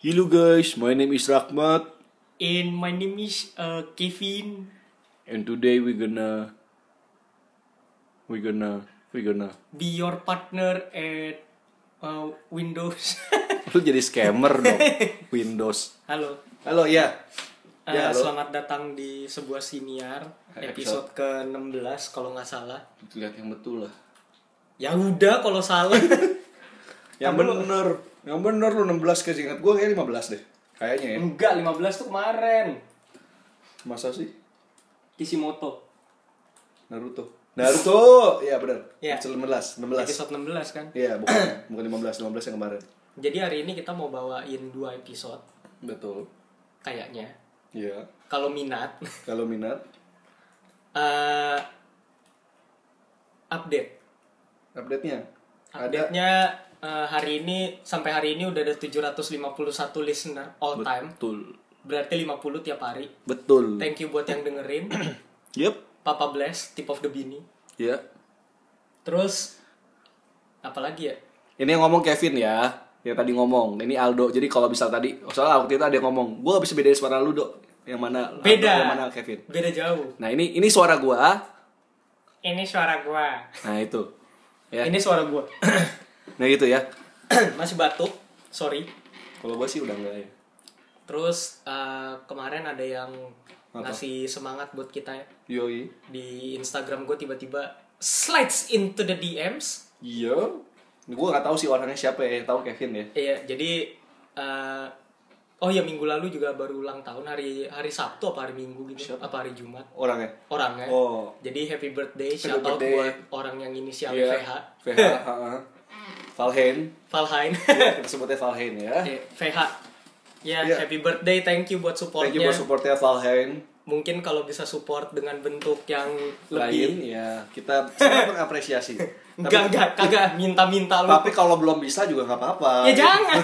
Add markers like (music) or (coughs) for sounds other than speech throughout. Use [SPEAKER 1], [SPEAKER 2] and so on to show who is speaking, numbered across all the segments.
[SPEAKER 1] Hello guys, my name is Rahmat
[SPEAKER 2] And my name is uh, Kevin.
[SPEAKER 1] and today we're gonna we're gonna we're gonna (laughs)
[SPEAKER 2] Be your partner at uh, Windows. (laughs)
[SPEAKER 1] lu jadi scammer (laughs) dong Windows.
[SPEAKER 2] Halo,
[SPEAKER 1] Halo ya.
[SPEAKER 2] uh,
[SPEAKER 1] Ya, halo.
[SPEAKER 2] selamat datang di sebuah siniar Eh, episode ke-16 kalau nggak salah.
[SPEAKER 1] Lihat yang betul lah.
[SPEAKER 2] Ya udah kalau salah.
[SPEAKER 1] Yang bener. Yang bener lu 16 ke singkat gua kayak 15 deh. Kayaknya ya.
[SPEAKER 2] (laughs) Enggak, 15 tuh kemarin.
[SPEAKER 1] Masa sih?
[SPEAKER 2] Kishimoto.
[SPEAKER 1] Naruto. Naruto. Iya bener.
[SPEAKER 2] Ya.
[SPEAKER 1] 16, 16.
[SPEAKER 2] Episode 16 kan.
[SPEAKER 1] Iya, bukan (coughs) bukan 15, 15 yang kemarin.
[SPEAKER 2] Jadi hari ini kita mau bawain dua episode
[SPEAKER 1] Betul.
[SPEAKER 2] kayaknya.
[SPEAKER 1] Iya.
[SPEAKER 2] Kalau minat (laughs)
[SPEAKER 1] Kalau minat
[SPEAKER 2] eh update.
[SPEAKER 1] update-nya ada
[SPEAKER 2] Update-nya eh, hari ini sampai hari ini udah ada 751 listener all time.
[SPEAKER 1] betul.
[SPEAKER 2] Berarti 50 tiap hari.
[SPEAKER 1] Betul.
[SPEAKER 2] Thank you buat yang
[SPEAKER 1] (clears throat)
[SPEAKER 2] dengerin.
[SPEAKER 1] Yep.
[SPEAKER 2] Papa Bless, Tip of the Bini.
[SPEAKER 1] Ya.
[SPEAKER 2] Terus apalagi ya?
[SPEAKER 1] Ini yang ngomong Kevin ya. Yang tadi ngomong. Nah, Ini Aldo. Jadi kalau bisa tadi, soalnya waktu itu ada yang ngomong, gue gak bisa bedain suara lu, Dok. Yang mana Aldo,
[SPEAKER 2] Beda.
[SPEAKER 1] yang mana Kevin.
[SPEAKER 2] Beda jauh.
[SPEAKER 1] Nah, ini ini suara gua.
[SPEAKER 2] Ini suara gua.
[SPEAKER 1] Nah, itu. Ya.
[SPEAKER 2] Ini suara gua. (clears throat)
[SPEAKER 1] Nah, gitu ya.
[SPEAKER 2] Masih batuk. Sorry.
[SPEAKER 1] Kalau gua sih udah enggak ya.
[SPEAKER 2] Terus eh, kemarin ada yang
[SPEAKER 1] Apa?
[SPEAKER 2] ngasih semangat buat kita ya.
[SPEAKER 1] Yoi.
[SPEAKER 2] Di Instagram gue tiba-tiba slides into the DMs.
[SPEAKER 1] Iya. Ini gua gak tahu sih orangnya siapa ya, yang tahu Kevin ya.
[SPEAKER 2] Iya, jadi eh, oh ya minggu lalu juga baru ulang tahun hari hari Sabtu apa hari Minggu gitu apa hari Jumat
[SPEAKER 1] Orangnya.
[SPEAKER 2] orangnya.
[SPEAKER 1] Oh.
[SPEAKER 2] Jadi happy birthday
[SPEAKER 1] Happy
[SPEAKER 2] shout out
[SPEAKER 1] birthday. Iya.
[SPEAKER 2] buat orang yang inisial VH,
[SPEAKER 1] VH,
[SPEAKER 2] (laughs)
[SPEAKER 1] heeh. Valhen. (laughs)
[SPEAKER 2] Valheim.
[SPEAKER 1] Ya, kita sebutnya Valhen ya.
[SPEAKER 2] Iya, VH. Ya,
[SPEAKER 1] Iya.
[SPEAKER 2] happy birthday, thank you buat
[SPEAKER 1] Thank you
[SPEAKER 2] supportnya.
[SPEAKER 1] buat supportnya Valhen.
[SPEAKER 2] Mungkin kalau bisa support dengan bentuk yang
[SPEAKER 1] Lain
[SPEAKER 2] lebih
[SPEAKER 1] ya, kita sangat mengapresiasi.
[SPEAKER 2] (laughs) enggak enggak kagak minta-minta lu.
[SPEAKER 1] Tapi kalau belum bisa juga nggak apa-apa. Iya,
[SPEAKER 2] Ya jangan.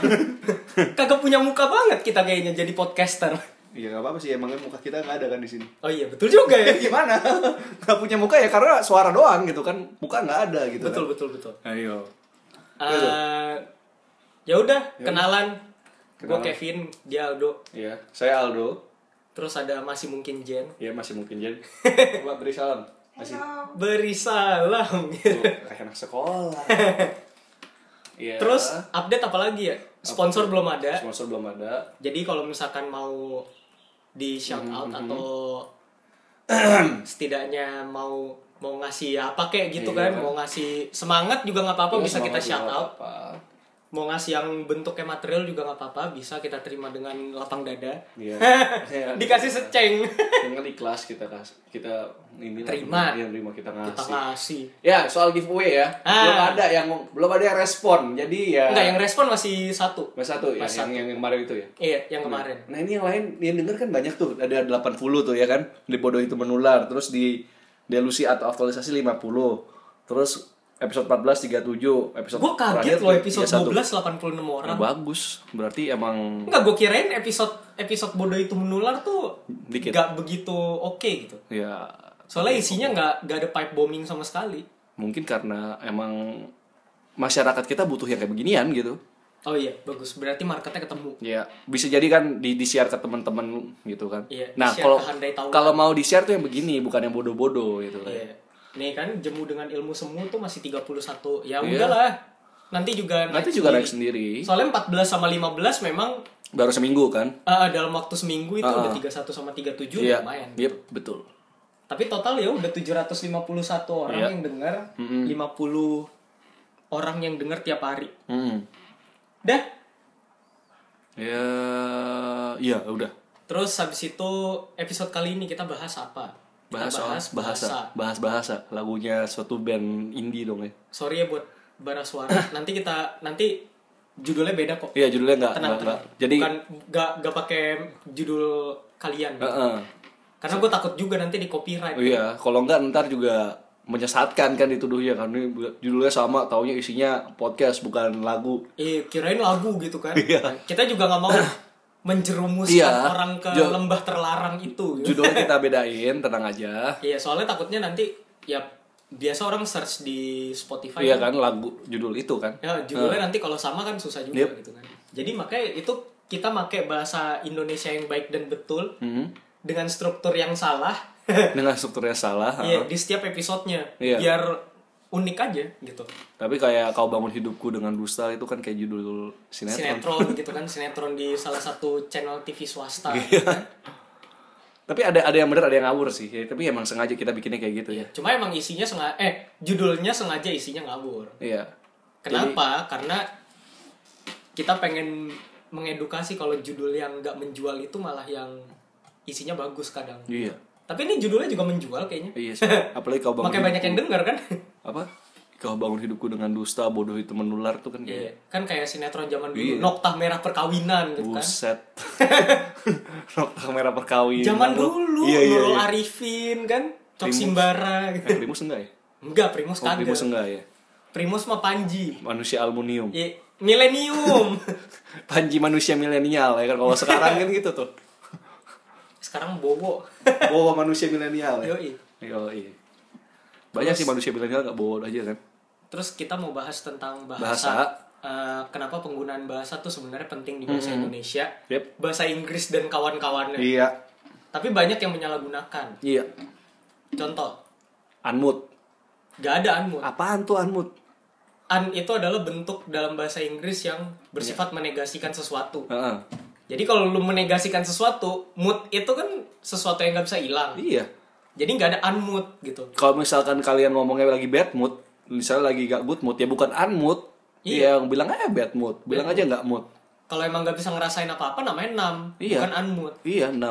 [SPEAKER 2] kagak punya muka banget kita kayaknya jadi podcaster.
[SPEAKER 1] Iya nggak apa-apa sih. Emangnya muka kita nggak ada kan di sini. (laughs)
[SPEAKER 2] Oh iya, betul juga ya.
[SPEAKER 1] Ya gimana? (laughs) Nggak punya muka ya karena suara doang gitu kan. Muka nggak ada gitu.
[SPEAKER 2] betul
[SPEAKER 1] Kan?
[SPEAKER 2] betul betul.
[SPEAKER 1] Ayo.
[SPEAKER 2] Eh, ya udah kenalan. Gue
[SPEAKER 1] Kenalan.
[SPEAKER 2] Kevin, dia Aldo.
[SPEAKER 1] Iya. Saya Aldo.
[SPEAKER 2] Terus ada masih mungkin Jen.
[SPEAKER 1] Iya masih mungkin
[SPEAKER 2] (laughs)
[SPEAKER 1] jadi. Coba beri salam. Masih.
[SPEAKER 2] Beri (laughs) salam.
[SPEAKER 1] Tuh, kayak anak sekolah. Iya.
[SPEAKER 2] Terus update apa lagi ya? Sponsor belum ada.
[SPEAKER 1] sponsor belum ada.
[SPEAKER 2] Jadi kalau misalkan mau di shout out atau hmm. (clears throat) setidaknya mau mau ngasih apa kayak gitu
[SPEAKER 1] Iya.
[SPEAKER 2] kan, mau ngasih Iya, semangat juga nggak apa-apa bisa kita shout out.
[SPEAKER 1] Apa?
[SPEAKER 2] Mau ngasih yang bentuknya material juga nggak apa-apa, bisa kita terima dengan lapang dada. (laughs)
[SPEAKER 1] Iya.
[SPEAKER 2] Dikasih seceng.
[SPEAKER 1] Dengan ikhlas kita kas- kita ini
[SPEAKER 2] Terima.
[SPEAKER 1] Iya, terima kita
[SPEAKER 2] Kita
[SPEAKER 1] ngasih.
[SPEAKER 2] ngasih.
[SPEAKER 1] Ya, soal giveaway ya.
[SPEAKER 2] Ah.
[SPEAKER 1] Belum ada yang belum ada yang respon. Jadi ya
[SPEAKER 2] Enggak, yang respon masih satu.
[SPEAKER 1] Mas satu ya,
[SPEAKER 2] Mas
[SPEAKER 1] yang, yang yang kemarin itu ya.
[SPEAKER 2] Iya, yang kemarin.
[SPEAKER 1] Nah, ini yang lain yang denger kan banyak tuh. Ada 80 tuh ya kan. Di bodoh itu menular, terus di delusi atau aktualisasi 50. Terus episode 14 37, episode
[SPEAKER 2] Gue kaget
[SPEAKER 1] terakhir
[SPEAKER 2] loh episode
[SPEAKER 1] 31.
[SPEAKER 2] 12 86 orang.
[SPEAKER 1] Nah, bagus. Berarti emang
[SPEAKER 2] Enggak, gue kirain episode episode bodoh itu menular tuh
[SPEAKER 1] Dikit.
[SPEAKER 2] nggak begitu oke gitu.
[SPEAKER 1] ya
[SPEAKER 2] Soalnya isinya nggak nggak ada pipe bombing sama sekali.
[SPEAKER 1] mungkin karena emang masyarakat kita butuh yang kayak beginian gitu.
[SPEAKER 2] Oh iya, bagus. Berarti marketnya ketemu.
[SPEAKER 1] Ya, bisa jadi kan di di-share ke teman-teman gitu kan.
[SPEAKER 2] Iya,
[SPEAKER 1] nah,
[SPEAKER 2] di-share
[SPEAKER 1] kalau
[SPEAKER 2] ke handai tahu.
[SPEAKER 1] kalau mau di-share tuh yang begini, bukan yang bodoh-bodoh gitu kan.
[SPEAKER 2] Iya. Nih kan jemu dengan ilmu semu tuh masih 31. Ya udahlah. Nanti juga
[SPEAKER 1] Nanti Nah, juga
[SPEAKER 2] Iya.
[SPEAKER 1] naik sendiri.
[SPEAKER 2] Soalnya 14 sama 15 memang
[SPEAKER 1] Baru seminggu kan?
[SPEAKER 2] eh, dalam waktu seminggu itu
[SPEAKER 1] Ah,
[SPEAKER 2] udah 31 sama 37
[SPEAKER 1] Iya.
[SPEAKER 2] lumayan. gitu.
[SPEAKER 1] Yep, betul.
[SPEAKER 2] Tapi total ya udah 751 orang
[SPEAKER 1] Iya.
[SPEAKER 2] yang dengar, 50 orang yang dengar tiap hari.
[SPEAKER 1] Mm.
[SPEAKER 2] Dah.
[SPEAKER 1] Ya, iya udah.
[SPEAKER 2] Terus habis itu episode kali ini kita bahas apa? Kita
[SPEAKER 1] Bahas soal bahasa, bahas bahasa. Lagunya suatu band indie dong ya.
[SPEAKER 2] Sorry ya buat bara
[SPEAKER 1] (clears throat)
[SPEAKER 2] suara. nanti kita nanti judulnya beda kok.
[SPEAKER 1] Iya, judulnya enggak
[SPEAKER 2] Tenang, tenang.
[SPEAKER 1] Jadi
[SPEAKER 2] bukan gak gak pakai judul kalian.
[SPEAKER 1] Heeh.
[SPEAKER 2] Karena gue takut juga nanti di copyright.
[SPEAKER 1] Iya. Oh iya, kalau enggak ntar juga menyesatkan kan dituduhnya kan ini judulnya sama, taunya isinya podcast bukan lagu.
[SPEAKER 2] Eh, kirain lagu gitu kan. Kita juga
[SPEAKER 1] (clears throat)
[SPEAKER 2] nggak mau menjerumuskan
[SPEAKER 1] Iya.
[SPEAKER 2] orang ke
[SPEAKER 1] Jo-
[SPEAKER 2] lembah terlarang itu. gitu.
[SPEAKER 1] Judulnya kita bedain, tenang aja.
[SPEAKER 2] Iya, soalnya takutnya nanti ya biasa orang search di Spotify
[SPEAKER 1] Iya kan lagu judul itu kan.
[SPEAKER 2] ya judulnya nanti kalau sama kan susah juga gitu kan jadi makanya itu kita pakai bahasa Indonesia yang baik dan betul
[SPEAKER 1] Mhm.
[SPEAKER 2] dengan struktur yang salah (laughs)
[SPEAKER 1] dengan strukturnya salah ha.
[SPEAKER 2] ya di setiap episodenya
[SPEAKER 1] Iya.
[SPEAKER 2] biar unik aja gitu
[SPEAKER 1] tapi kayak kau bangun hidupku dengan dusta itu kan kayak judul sinetron, (laughs)
[SPEAKER 2] sinetron gitu kan sinetron di salah satu channel TV swasta
[SPEAKER 1] Iya.
[SPEAKER 2] gitu kan.
[SPEAKER 1] tapi ada ada yang bener ada yang ngawur sih ya, tapi emang sengaja kita bikinnya kayak gitu ya
[SPEAKER 2] cuma emang isinya sengaja eh judulnya sengaja isinya ngabur
[SPEAKER 1] iya
[SPEAKER 2] Kenapa? Karena kita pengen mengedukasi kalau judul yang nggak menjual itu malah yang isinya bagus kadang.
[SPEAKER 1] iya
[SPEAKER 2] Tapi ini judulnya juga menjual kayaknya.
[SPEAKER 1] iya
[SPEAKER 2] (laughs)
[SPEAKER 1] sih. apalagi kau bangun
[SPEAKER 2] Makai banyak yang dengar kan?
[SPEAKER 1] apa kau bangun hidupku dengan dusta bodoh itu menular tuh kan kayak
[SPEAKER 2] Iya. (laughs) kan kayak sinetron zaman dulu, Noktah Merah Perkawinan gitu kan.
[SPEAKER 1] Iya. buset (laughs) nokta merah perkawinan
[SPEAKER 2] Zaman
[SPEAKER 1] lu.
[SPEAKER 2] dulu,
[SPEAKER 1] iya iya
[SPEAKER 2] Nurul
[SPEAKER 1] iya
[SPEAKER 2] Arifin kan, Cok
[SPEAKER 1] Primus.
[SPEAKER 2] Simbara gitu.
[SPEAKER 1] (laughs) Eh, primus enggak ya
[SPEAKER 2] Enggak, Primus
[SPEAKER 1] oh,
[SPEAKER 2] kagak.
[SPEAKER 1] primus enggak ya
[SPEAKER 2] Primus mah Panji.
[SPEAKER 1] manusia aluminium
[SPEAKER 2] Iya, milenium.
[SPEAKER 1] panji manusia milenial ya kan kalau sekarang kan gitu tuh
[SPEAKER 2] (laughs) Sekarang
[SPEAKER 1] (laughs)
[SPEAKER 2] Bobo.
[SPEAKER 1] bawa manusia milenial ya
[SPEAKER 2] Yoi.
[SPEAKER 1] Yo, iya. Banyak sih manusia milenial nggak bodoh aja kan.
[SPEAKER 2] Terus kita mau bahas tentang bahasa.
[SPEAKER 1] Bahasa.
[SPEAKER 2] Eh, kenapa penggunaan bahasa tuh sebenarnya penting di bahasa Indonesia?
[SPEAKER 1] Yep.
[SPEAKER 2] Bahasa Inggris dan kawan-kawannya.
[SPEAKER 1] Iya.
[SPEAKER 2] Tapi banyak yang menyalahgunakan.
[SPEAKER 1] Iya.
[SPEAKER 2] Contoh,
[SPEAKER 1] Unmute.
[SPEAKER 2] gak ada unmut.
[SPEAKER 1] Apaan tuh unmute?
[SPEAKER 2] Un itu adalah bentuk dalam bahasa Inggris yang bersifat
[SPEAKER 1] Iya.
[SPEAKER 2] menegasikan sesuatu.
[SPEAKER 1] Heeh.
[SPEAKER 2] Jadi kalau lu menegasikan sesuatu, mood itu kan sesuatu yang nggak bisa hilang.
[SPEAKER 1] Iya.
[SPEAKER 2] Jadi nggak ada unmut gitu.
[SPEAKER 1] Kalau misalkan kalian ngomongnya lagi bad mood, misalnya lagi gak good mood, ya bukan unmute. Iya. Yang bilang aja bad mood, bilang aja nggak mood.
[SPEAKER 2] Kalau emang nggak bisa ngerasain apa-apa, namanya nam,
[SPEAKER 1] Iya.
[SPEAKER 2] bukan unmut.
[SPEAKER 1] Iya, 6.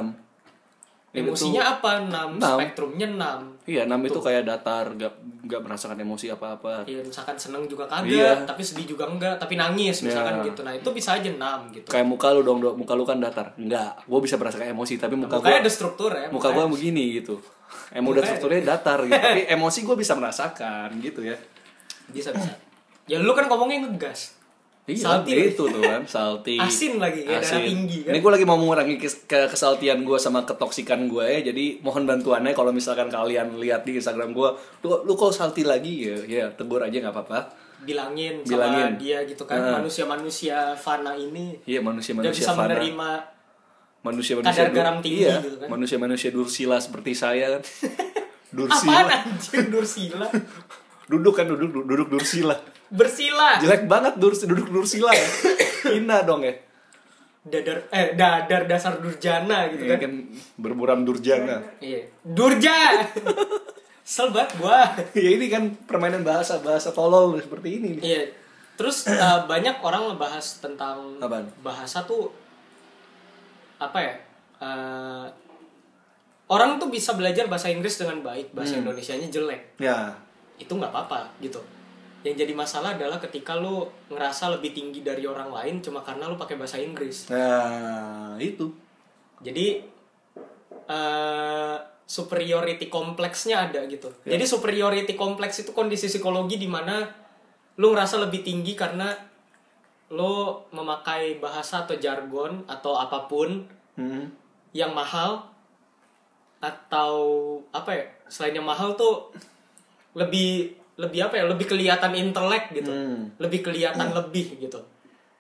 [SPEAKER 2] Emosinya apa? Nam,
[SPEAKER 1] Nam.
[SPEAKER 2] spektrumnya nam.
[SPEAKER 1] Iya, 6 itu kayak datar, gak, gak merasakan emosi apa-apa.
[SPEAKER 2] Iya, misalkan seneng juga kagak,
[SPEAKER 1] Iya.
[SPEAKER 2] tapi sedih juga enggak, tapi nangis misalkan
[SPEAKER 1] Iya.
[SPEAKER 2] gitu. Nah, itu bisa aja enam gitu.
[SPEAKER 1] Kayak muka lu dong, dok. muka lu kan datar. Enggak, gue bisa merasakan emosi, tapi muka gue
[SPEAKER 2] Makanya ada struktur ya.
[SPEAKER 1] muka gue begini gitu emang udah strukturnya datar
[SPEAKER 2] (laughs)
[SPEAKER 1] gitu tapi emosi gue bisa merasakan gitu ya
[SPEAKER 2] Bisa bisa. Ya lu kan ngomongnya ngegas.
[SPEAKER 1] iya
[SPEAKER 2] Salty.
[SPEAKER 1] gitu tuh kan salty
[SPEAKER 2] Asin lagi ya, darah
[SPEAKER 1] Asin.
[SPEAKER 2] tinggi kan.
[SPEAKER 1] ini gue lagi mau mengurangi kes- ke kesaltian gue sama ketoksikan gue ya jadi mohon bantuannya kalau misalkan kalian lihat di instagram gue lu lu kok salty lagi ya ya tegur aja nggak apa-apa
[SPEAKER 2] Bilangin,
[SPEAKER 1] Bilangin.
[SPEAKER 2] sama dia gitu kan.
[SPEAKER 1] Nah.
[SPEAKER 2] Manusia-manusia fana ini
[SPEAKER 1] iya manusia
[SPEAKER 2] nggak
[SPEAKER 1] manusia
[SPEAKER 2] bisa menerima
[SPEAKER 1] manusia manusia
[SPEAKER 2] kadar garam tinggi gitu kan.
[SPEAKER 1] manusia manusia iya, dursila seperti
[SPEAKER 2] (laughs)
[SPEAKER 1] saya kan
[SPEAKER 2] apaan
[SPEAKER 1] dursila
[SPEAKER 2] anjir dursila.
[SPEAKER 1] duduk kan duduk duduk dursila
[SPEAKER 2] Bersila.
[SPEAKER 1] jelek banget durs duduk dursila ya. hina dong ya
[SPEAKER 2] Dadar eh dadar dasar durjana gitu
[SPEAKER 1] Iya
[SPEAKER 2] kan.
[SPEAKER 1] kan berburam durjana.
[SPEAKER 2] Iya.
[SPEAKER 1] (laughs)
[SPEAKER 2] Durja. Selbat gua.
[SPEAKER 1] ya ini kan permainan bahasa bahasa tolol seperti ini. nih.
[SPEAKER 2] Iya. Terus eh, banyak orang ngebahas tentang
[SPEAKER 1] Apaan?
[SPEAKER 2] bahasa tuh apa ya? Eh, orang tuh bisa belajar bahasa Inggris dengan baik, bahasa Indonesianya jelek.
[SPEAKER 1] Ya,
[SPEAKER 2] Itu nggak apa-apa gitu. Yang jadi masalah adalah ketika lu ngerasa lebih tinggi dari orang lain cuma karena lu pakai bahasa Inggris.
[SPEAKER 1] nah itu.
[SPEAKER 2] Jadi eh superiority kompleksnya ada gitu. Jadi superiority kompleks itu kondisi psikologi di mana lu ngerasa lebih tinggi karena lu memakai bahasa atau jargon atau apapun
[SPEAKER 1] Hmm.
[SPEAKER 2] yang mahal atau apa ya? Selain yang mahal tuh lebih lebih apa ya? Lebih kelihatan intelek gitu.
[SPEAKER 1] Hmm.
[SPEAKER 2] Lebih kelihatan lebih gitu.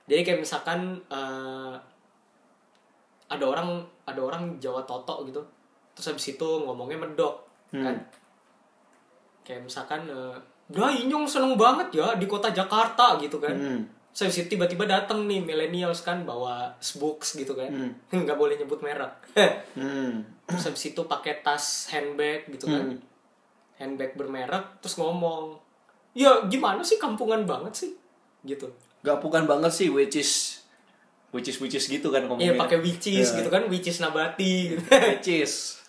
[SPEAKER 2] Jadi kayak misalkan eh, ada orang ada orang Jawa Toto gitu. Terus habis itu ngomongnya medok
[SPEAKER 1] Hmm.
[SPEAKER 2] kan. Kayak misalkan eh, Dah Inyong seneng banget ya di kota Jakarta gitu kan.
[SPEAKER 1] Hmm.
[SPEAKER 2] Terus habis itu tiba-tiba datang nih millennials kan bawa books gitu kan. (laughs) Nggak boleh nyebut merek. (laughs)
[SPEAKER 1] Hmm.
[SPEAKER 2] terus habis itu pakai tas handbag gitu kan.
[SPEAKER 1] Hmm.
[SPEAKER 2] Handbag bermerek terus ngomong, "Ya gimana sih kampungan banget sih?" gitu.
[SPEAKER 1] Gapukan banget sih which is which is which is gitu kan ngomongnya.
[SPEAKER 2] Iya pakai witches
[SPEAKER 1] Ya.
[SPEAKER 2] gitu kan, witches nabati gitu.
[SPEAKER 1] (laughs)
[SPEAKER 2] (laughs)
[SPEAKER 1] which is.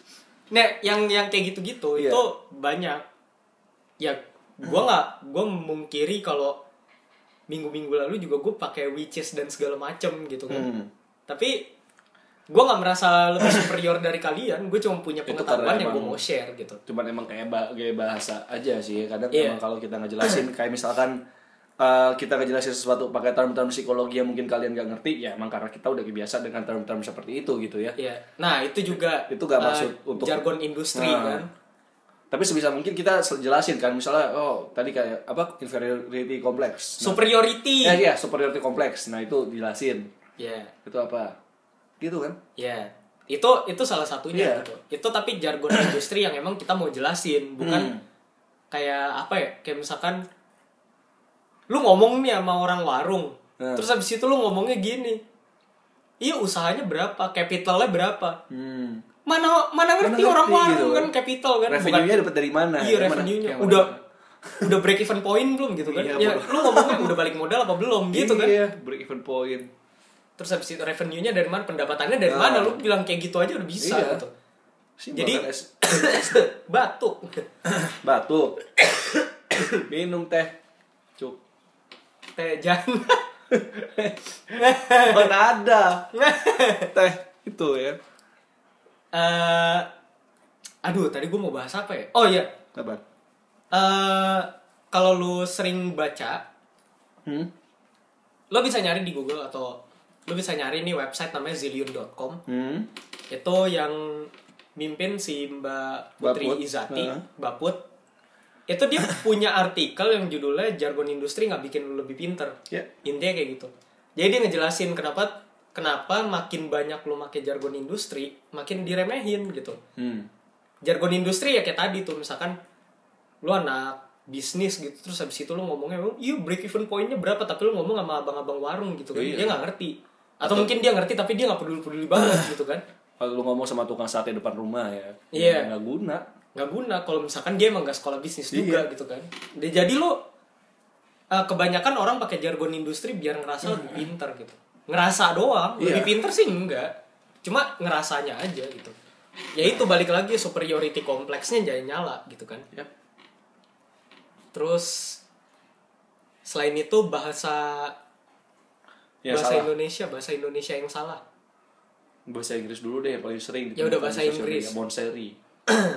[SPEAKER 2] nah, yang yang kayak gitu-gitu
[SPEAKER 1] Iya. Hmm.
[SPEAKER 2] itu banyak. Ya gua nggak gua memungkiri kalau minggu-minggu lalu juga gue pakai witches dan segala macem gitu kan.
[SPEAKER 1] Hmm.
[SPEAKER 2] tapi gue nggak merasa lebih superior dari kalian gue cuma punya
[SPEAKER 1] Itu
[SPEAKER 2] pengetahuan
[SPEAKER 1] karena
[SPEAKER 2] yang gue
[SPEAKER 1] emang-
[SPEAKER 2] mau share gitu
[SPEAKER 1] Cuman emang kayak ba- gaya bahasa aja sih. Kadang
[SPEAKER 2] Iya.
[SPEAKER 1] emang kalau kita ngejelasin (clears throat) kayak misalkan eh, kita ngejelasin sesuatu pakai term-term psikologi yang mungkin kalian gak ngerti, ya emang karena kita udah kebiasa dengan term-term seperti itu gitu ya.
[SPEAKER 2] ya nah itu juga
[SPEAKER 1] Itu nggak
[SPEAKER 2] eh,
[SPEAKER 1] maksud untuk-
[SPEAKER 2] jargon industri
[SPEAKER 1] Nah.
[SPEAKER 2] kan
[SPEAKER 1] tapi sebisa mungkin kita jelasin kan misalnya oh tadi kayak apa inferiority complex nah, ya.
[SPEAKER 2] superiority
[SPEAKER 1] eh, iya superiority complex nah itu jelasin
[SPEAKER 2] ya
[SPEAKER 1] itu apa gitu kan
[SPEAKER 2] ya itu itu salah satunya
[SPEAKER 1] Iya.
[SPEAKER 2] gitu itu tapi jargon industri yang emang kita mau jelasin bukan
[SPEAKER 1] Hmm.
[SPEAKER 2] kayak apa ya kayak misalkan lu ngomong nih sama orang warung
[SPEAKER 1] Hmm.
[SPEAKER 2] terus habis itu lu ngomongnya gini iya usahanya berapa capitalnya berapa
[SPEAKER 1] hmm.
[SPEAKER 2] mana mana ngerti
[SPEAKER 1] ngerti
[SPEAKER 2] orang warung
[SPEAKER 1] gitu
[SPEAKER 2] kan
[SPEAKER 1] kan.
[SPEAKER 2] capital kan bukan
[SPEAKER 1] revenue-nya dapat dari mana
[SPEAKER 2] iya
[SPEAKER 1] Dari mana?
[SPEAKER 2] revenue-nya
[SPEAKER 1] Nah, Yang
[SPEAKER 2] udah
[SPEAKER 1] mana?
[SPEAKER 2] udah break even point belum gitu kan
[SPEAKER 1] Iya,
[SPEAKER 2] ya
[SPEAKER 1] bodoh.
[SPEAKER 2] lu ngomongnya udah balik modal apa
[SPEAKER 1] (laughs)
[SPEAKER 2] belum gitu kan
[SPEAKER 1] iya break even point
[SPEAKER 2] terus habis itu revenue-nya dari mana pendapatannya
[SPEAKER 1] Nah.
[SPEAKER 2] dari mana lu bilang kayak gitu aja udah bisa
[SPEAKER 1] Iya.
[SPEAKER 2] gitu (laughs)
[SPEAKER 1] Sih,
[SPEAKER 2] Jadi-
[SPEAKER 1] makan es
[SPEAKER 2] batuk
[SPEAKER 1] batuk (coughs) minum teh cuk
[SPEAKER 2] teh jangan
[SPEAKER 1] mana ada teh itu ya
[SPEAKER 2] (laughs) Eh, aduh tadi gue mau bahas apa ya oh iya
[SPEAKER 1] apa
[SPEAKER 2] Eh, kalau lu sering baca
[SPEAKER 1] hmm
[SPEAKER 2] lo bisa nyari di Google atau lo bisa nyari nih website namanya zillion.com
[SPEAKER 1] hmm
[SPEAKER 2] itu yang mimpin si Mbak Putri
[SPEAKER 1] Baput.
[SPEAKER 2] Izati
[SPEAKER 1] Heeh.
[SPEAKER 2] Baput itu dia punya artikel yang judulnya jargon industri nggak bikin lu lebih pinter
[SPEAKER 1] Ya.
[SPEAKER 2] intinya kayak gitu jadi dia ngejelasin kenapa kenapa makin banyak lu make jargon industri makin diremehin gitu
[SPEAKER 1] hmm
[SPEAKER 2] jargon industri ya kayak tadi tuh misalkan lu anak bisnis gitu terus habis itu lu ngomongnya "Oh, iya break even pointnya berapa tapi lu ngomong sama abang-abang warung gitu kan
[SPEAKER 1] Iya.
[SPEAKER 2] dia nggak ngerti atau, mungkin dia ngerti tapi dia nggak peduli-peduli
[SPEAKER 1] (clears throat)
[SPEAKER 2] banget gitu kan
[SPEAKER 1] kalau lu ngomong sama tukang sate depan rumah ya
[SPEAKER 2] Iya.
[SPEAKER 1] nggak guna
[SPEAKER 2] nggak guna kalau misalkan dia emang nggak sekolah bisnis
[SPEAKER 1] Iya.
[SPEAKER 2] juga gitu kan Dia- jadi lo eh, kebanyakan orang pakai jargon industri biar ngerasa lebih pinter gitu ngerasa doang
[SPEAKER 1] Iya.
[SPEAKER 2] lebih pinter sih enggak cuma ngerasanya aja gitu ya itu balik lagi superiority kompleksnya jadi nyala gitu kan
[SPEAKER 1] ya
[SPEAKER 2] terus selain itu bahasa
[SPEAKER 1] ya
[SPEAKER 2] bahasa
[SPEAKER 1] salah
[SPEAKER 2] Indonesia bahasa Indonesia yang salah (clears throat)
[SPEAKER 1] bahasa Inggris dulu deh yang paling sering
[SPEAKER 2] Ya udah,
[SPEAKER 1] ditemukan di
[SPEAKER 2] bahasa
[SPEAKER 1] sosial
[SPEAKER 2] Inggris.
[SPEAKER 1] media. monseri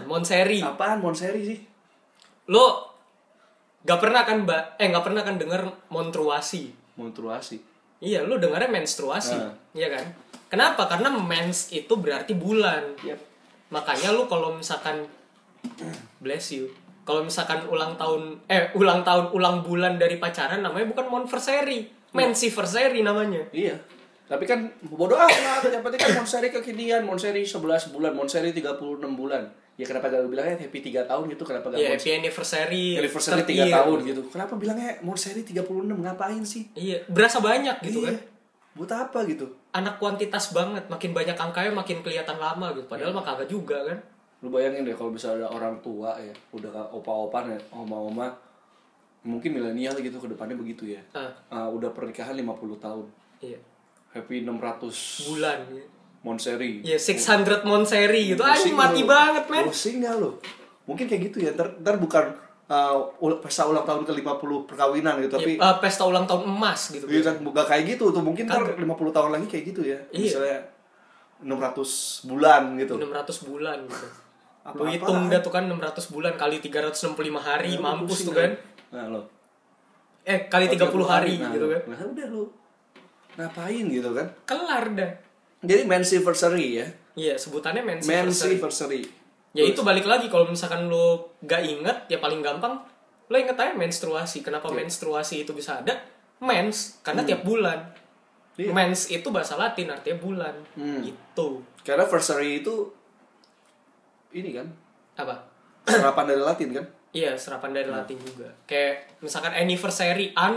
[SPEAKER 2] monseri
[SPEAKER 1] apaan monseri sih
[SPEAKER 2] lo nggak pernah kan ba- eh nggak pernah kan denger montruasi
[SPEAKER 1] monstruasi
[SPEAKER 2] Iya, lu dengarnya menstruasi,
[SPEAKER 1] Ah.
[SPEAKER 2] iya kan? Kenapa? Karena mens itu berarti bulan.
[SPEAKER 1] Yap.
[SPEAKER 2] Makanya lu kalau misalkan bless you, kalau misalkan ulang tahun eh ulang tahun ulang bulan dari pacaran namanya bukan monversary, mensiversary namanya.
[SPEAKER 1] Iya. Tapi kan bodo amat, yang penting kan Monseri kekinian, Monseri 11 bulan, Monseri 36 bulan. Ya kenapa gak lu bilangnya happy 3 tahun gitu, kenapa gak
[SPEAKER 2] Ya,
[SPEAKER 1] Monseri
[SPEAKER 2] happy anniversary.
[SPEAKER 1] anniversary 3
[SPEAKER 2] 30
[SPEAKER 1] tahun gitu. Kenapa bilangnya Monseri 36, ngapain sih?
[SPEAKER 2] Iya, berasa banyak gitu kan.
[SPEAKER 1] Iya. Buat apa gitu?
[SPEAKER 2] Anak kuantitas banget, makin banyak angkanya makin kelihatan lama gitu.
[SPEAKER 1] Iya.
[SPEAKER 2] Padahal mah kagak juga kan.
[SPEAKER 1] Lu bayangin deh kalau bisa ada orang tua ya, udah kayak opa-opa ya, oma-oma, mungkin milenial gitu ke depannya begitu ya.
[SPEAKER 2] Ah,
[SPEAKER 1] Ah, udah pernikahan 50 tahun,
[SPEAKER 2] iya.
[SPEAKER 1] happy 600
[SPEAKER 2] Bulan. ya.
[SPEAKER 1] Monseri.
[SPEAKER 2] Ya, 600 monseri gitu. Anjing
[SPEAKER 1] lu.
[SPEAKER 2] mati banget, men.
[SPEAKER 1] Pusing nggak lu? Mungkin kayak gitu ya, ntar, ntar bukan uh, ul- pesta ulang tahun ke 50 perkawinan gitu, tapi
[SPEAKER 2] Eh, pesta ulang tahun emas gitu.
[SPEAKER 1] iya kan bukan kayak gitu tuh, mungkin ntar 50 tahun lagi kayak gitu ya.
[SPEAKER 2] Kan? Iya.
[SPEAKER 1] Misalnya 600 bulan gitu.
[SPEAKER 2] 600 bulan gitu. Lu
[SPEAKER 1] Apa-apaan.
[SPEAKER 2] hitung dah tuh kan 600 bulan kali 365 hari
[SPEAKER 1] Iya,
[SPEAKER 2] mampus tuh kan.
[SPEAKER 1] Nah, lo.
[SPEAKER 2] Eh kali
[SPEAKER 1] Oh,
[SPEAKER 2] 30 hari gitu
[SPEAKER 1] lo.
[SPEAKER 2] kan.
[SPEAKER 1] Nah, udah lu. Ngapain gitu kan?
[SPEAKER 2] Kelar dah.
[SPEAKER 1] Jadi mensiversary ya.
[SPEAKER 2] Iya, sebutannya mensiversary.
[SPEAKER 1] Mensiversary.
[SPEAKER 2] Ya itu balik lagi kalau misalkan lu gak inget ya paling gampang lu inget aja menstruasi. Kenapa
[SPEAKER 1] Iya.
[SPEAKER 2] menstruasi itu bisa ada? Mens karena tiap bulan.
[SPEAKER 1] Hmm. Iya. Hmm.
[SPEAKER 2] Mens itu bahasa Latin artinya bulan. Gitu.
[SPEAKER 1] Karena versary itu ini
[SPEAKER 2] (coughs)
[SPEAKER 1] kan,
[SPEAKER 2] Apa?
[SPEAKER 1] serapan dari Latin kan?
[SPEAKER 2] Iya, serapan dari
[SPEAKER 1] Hmm.
[SPEAKER 2] Latin juga. Kayak misalkan anniversary an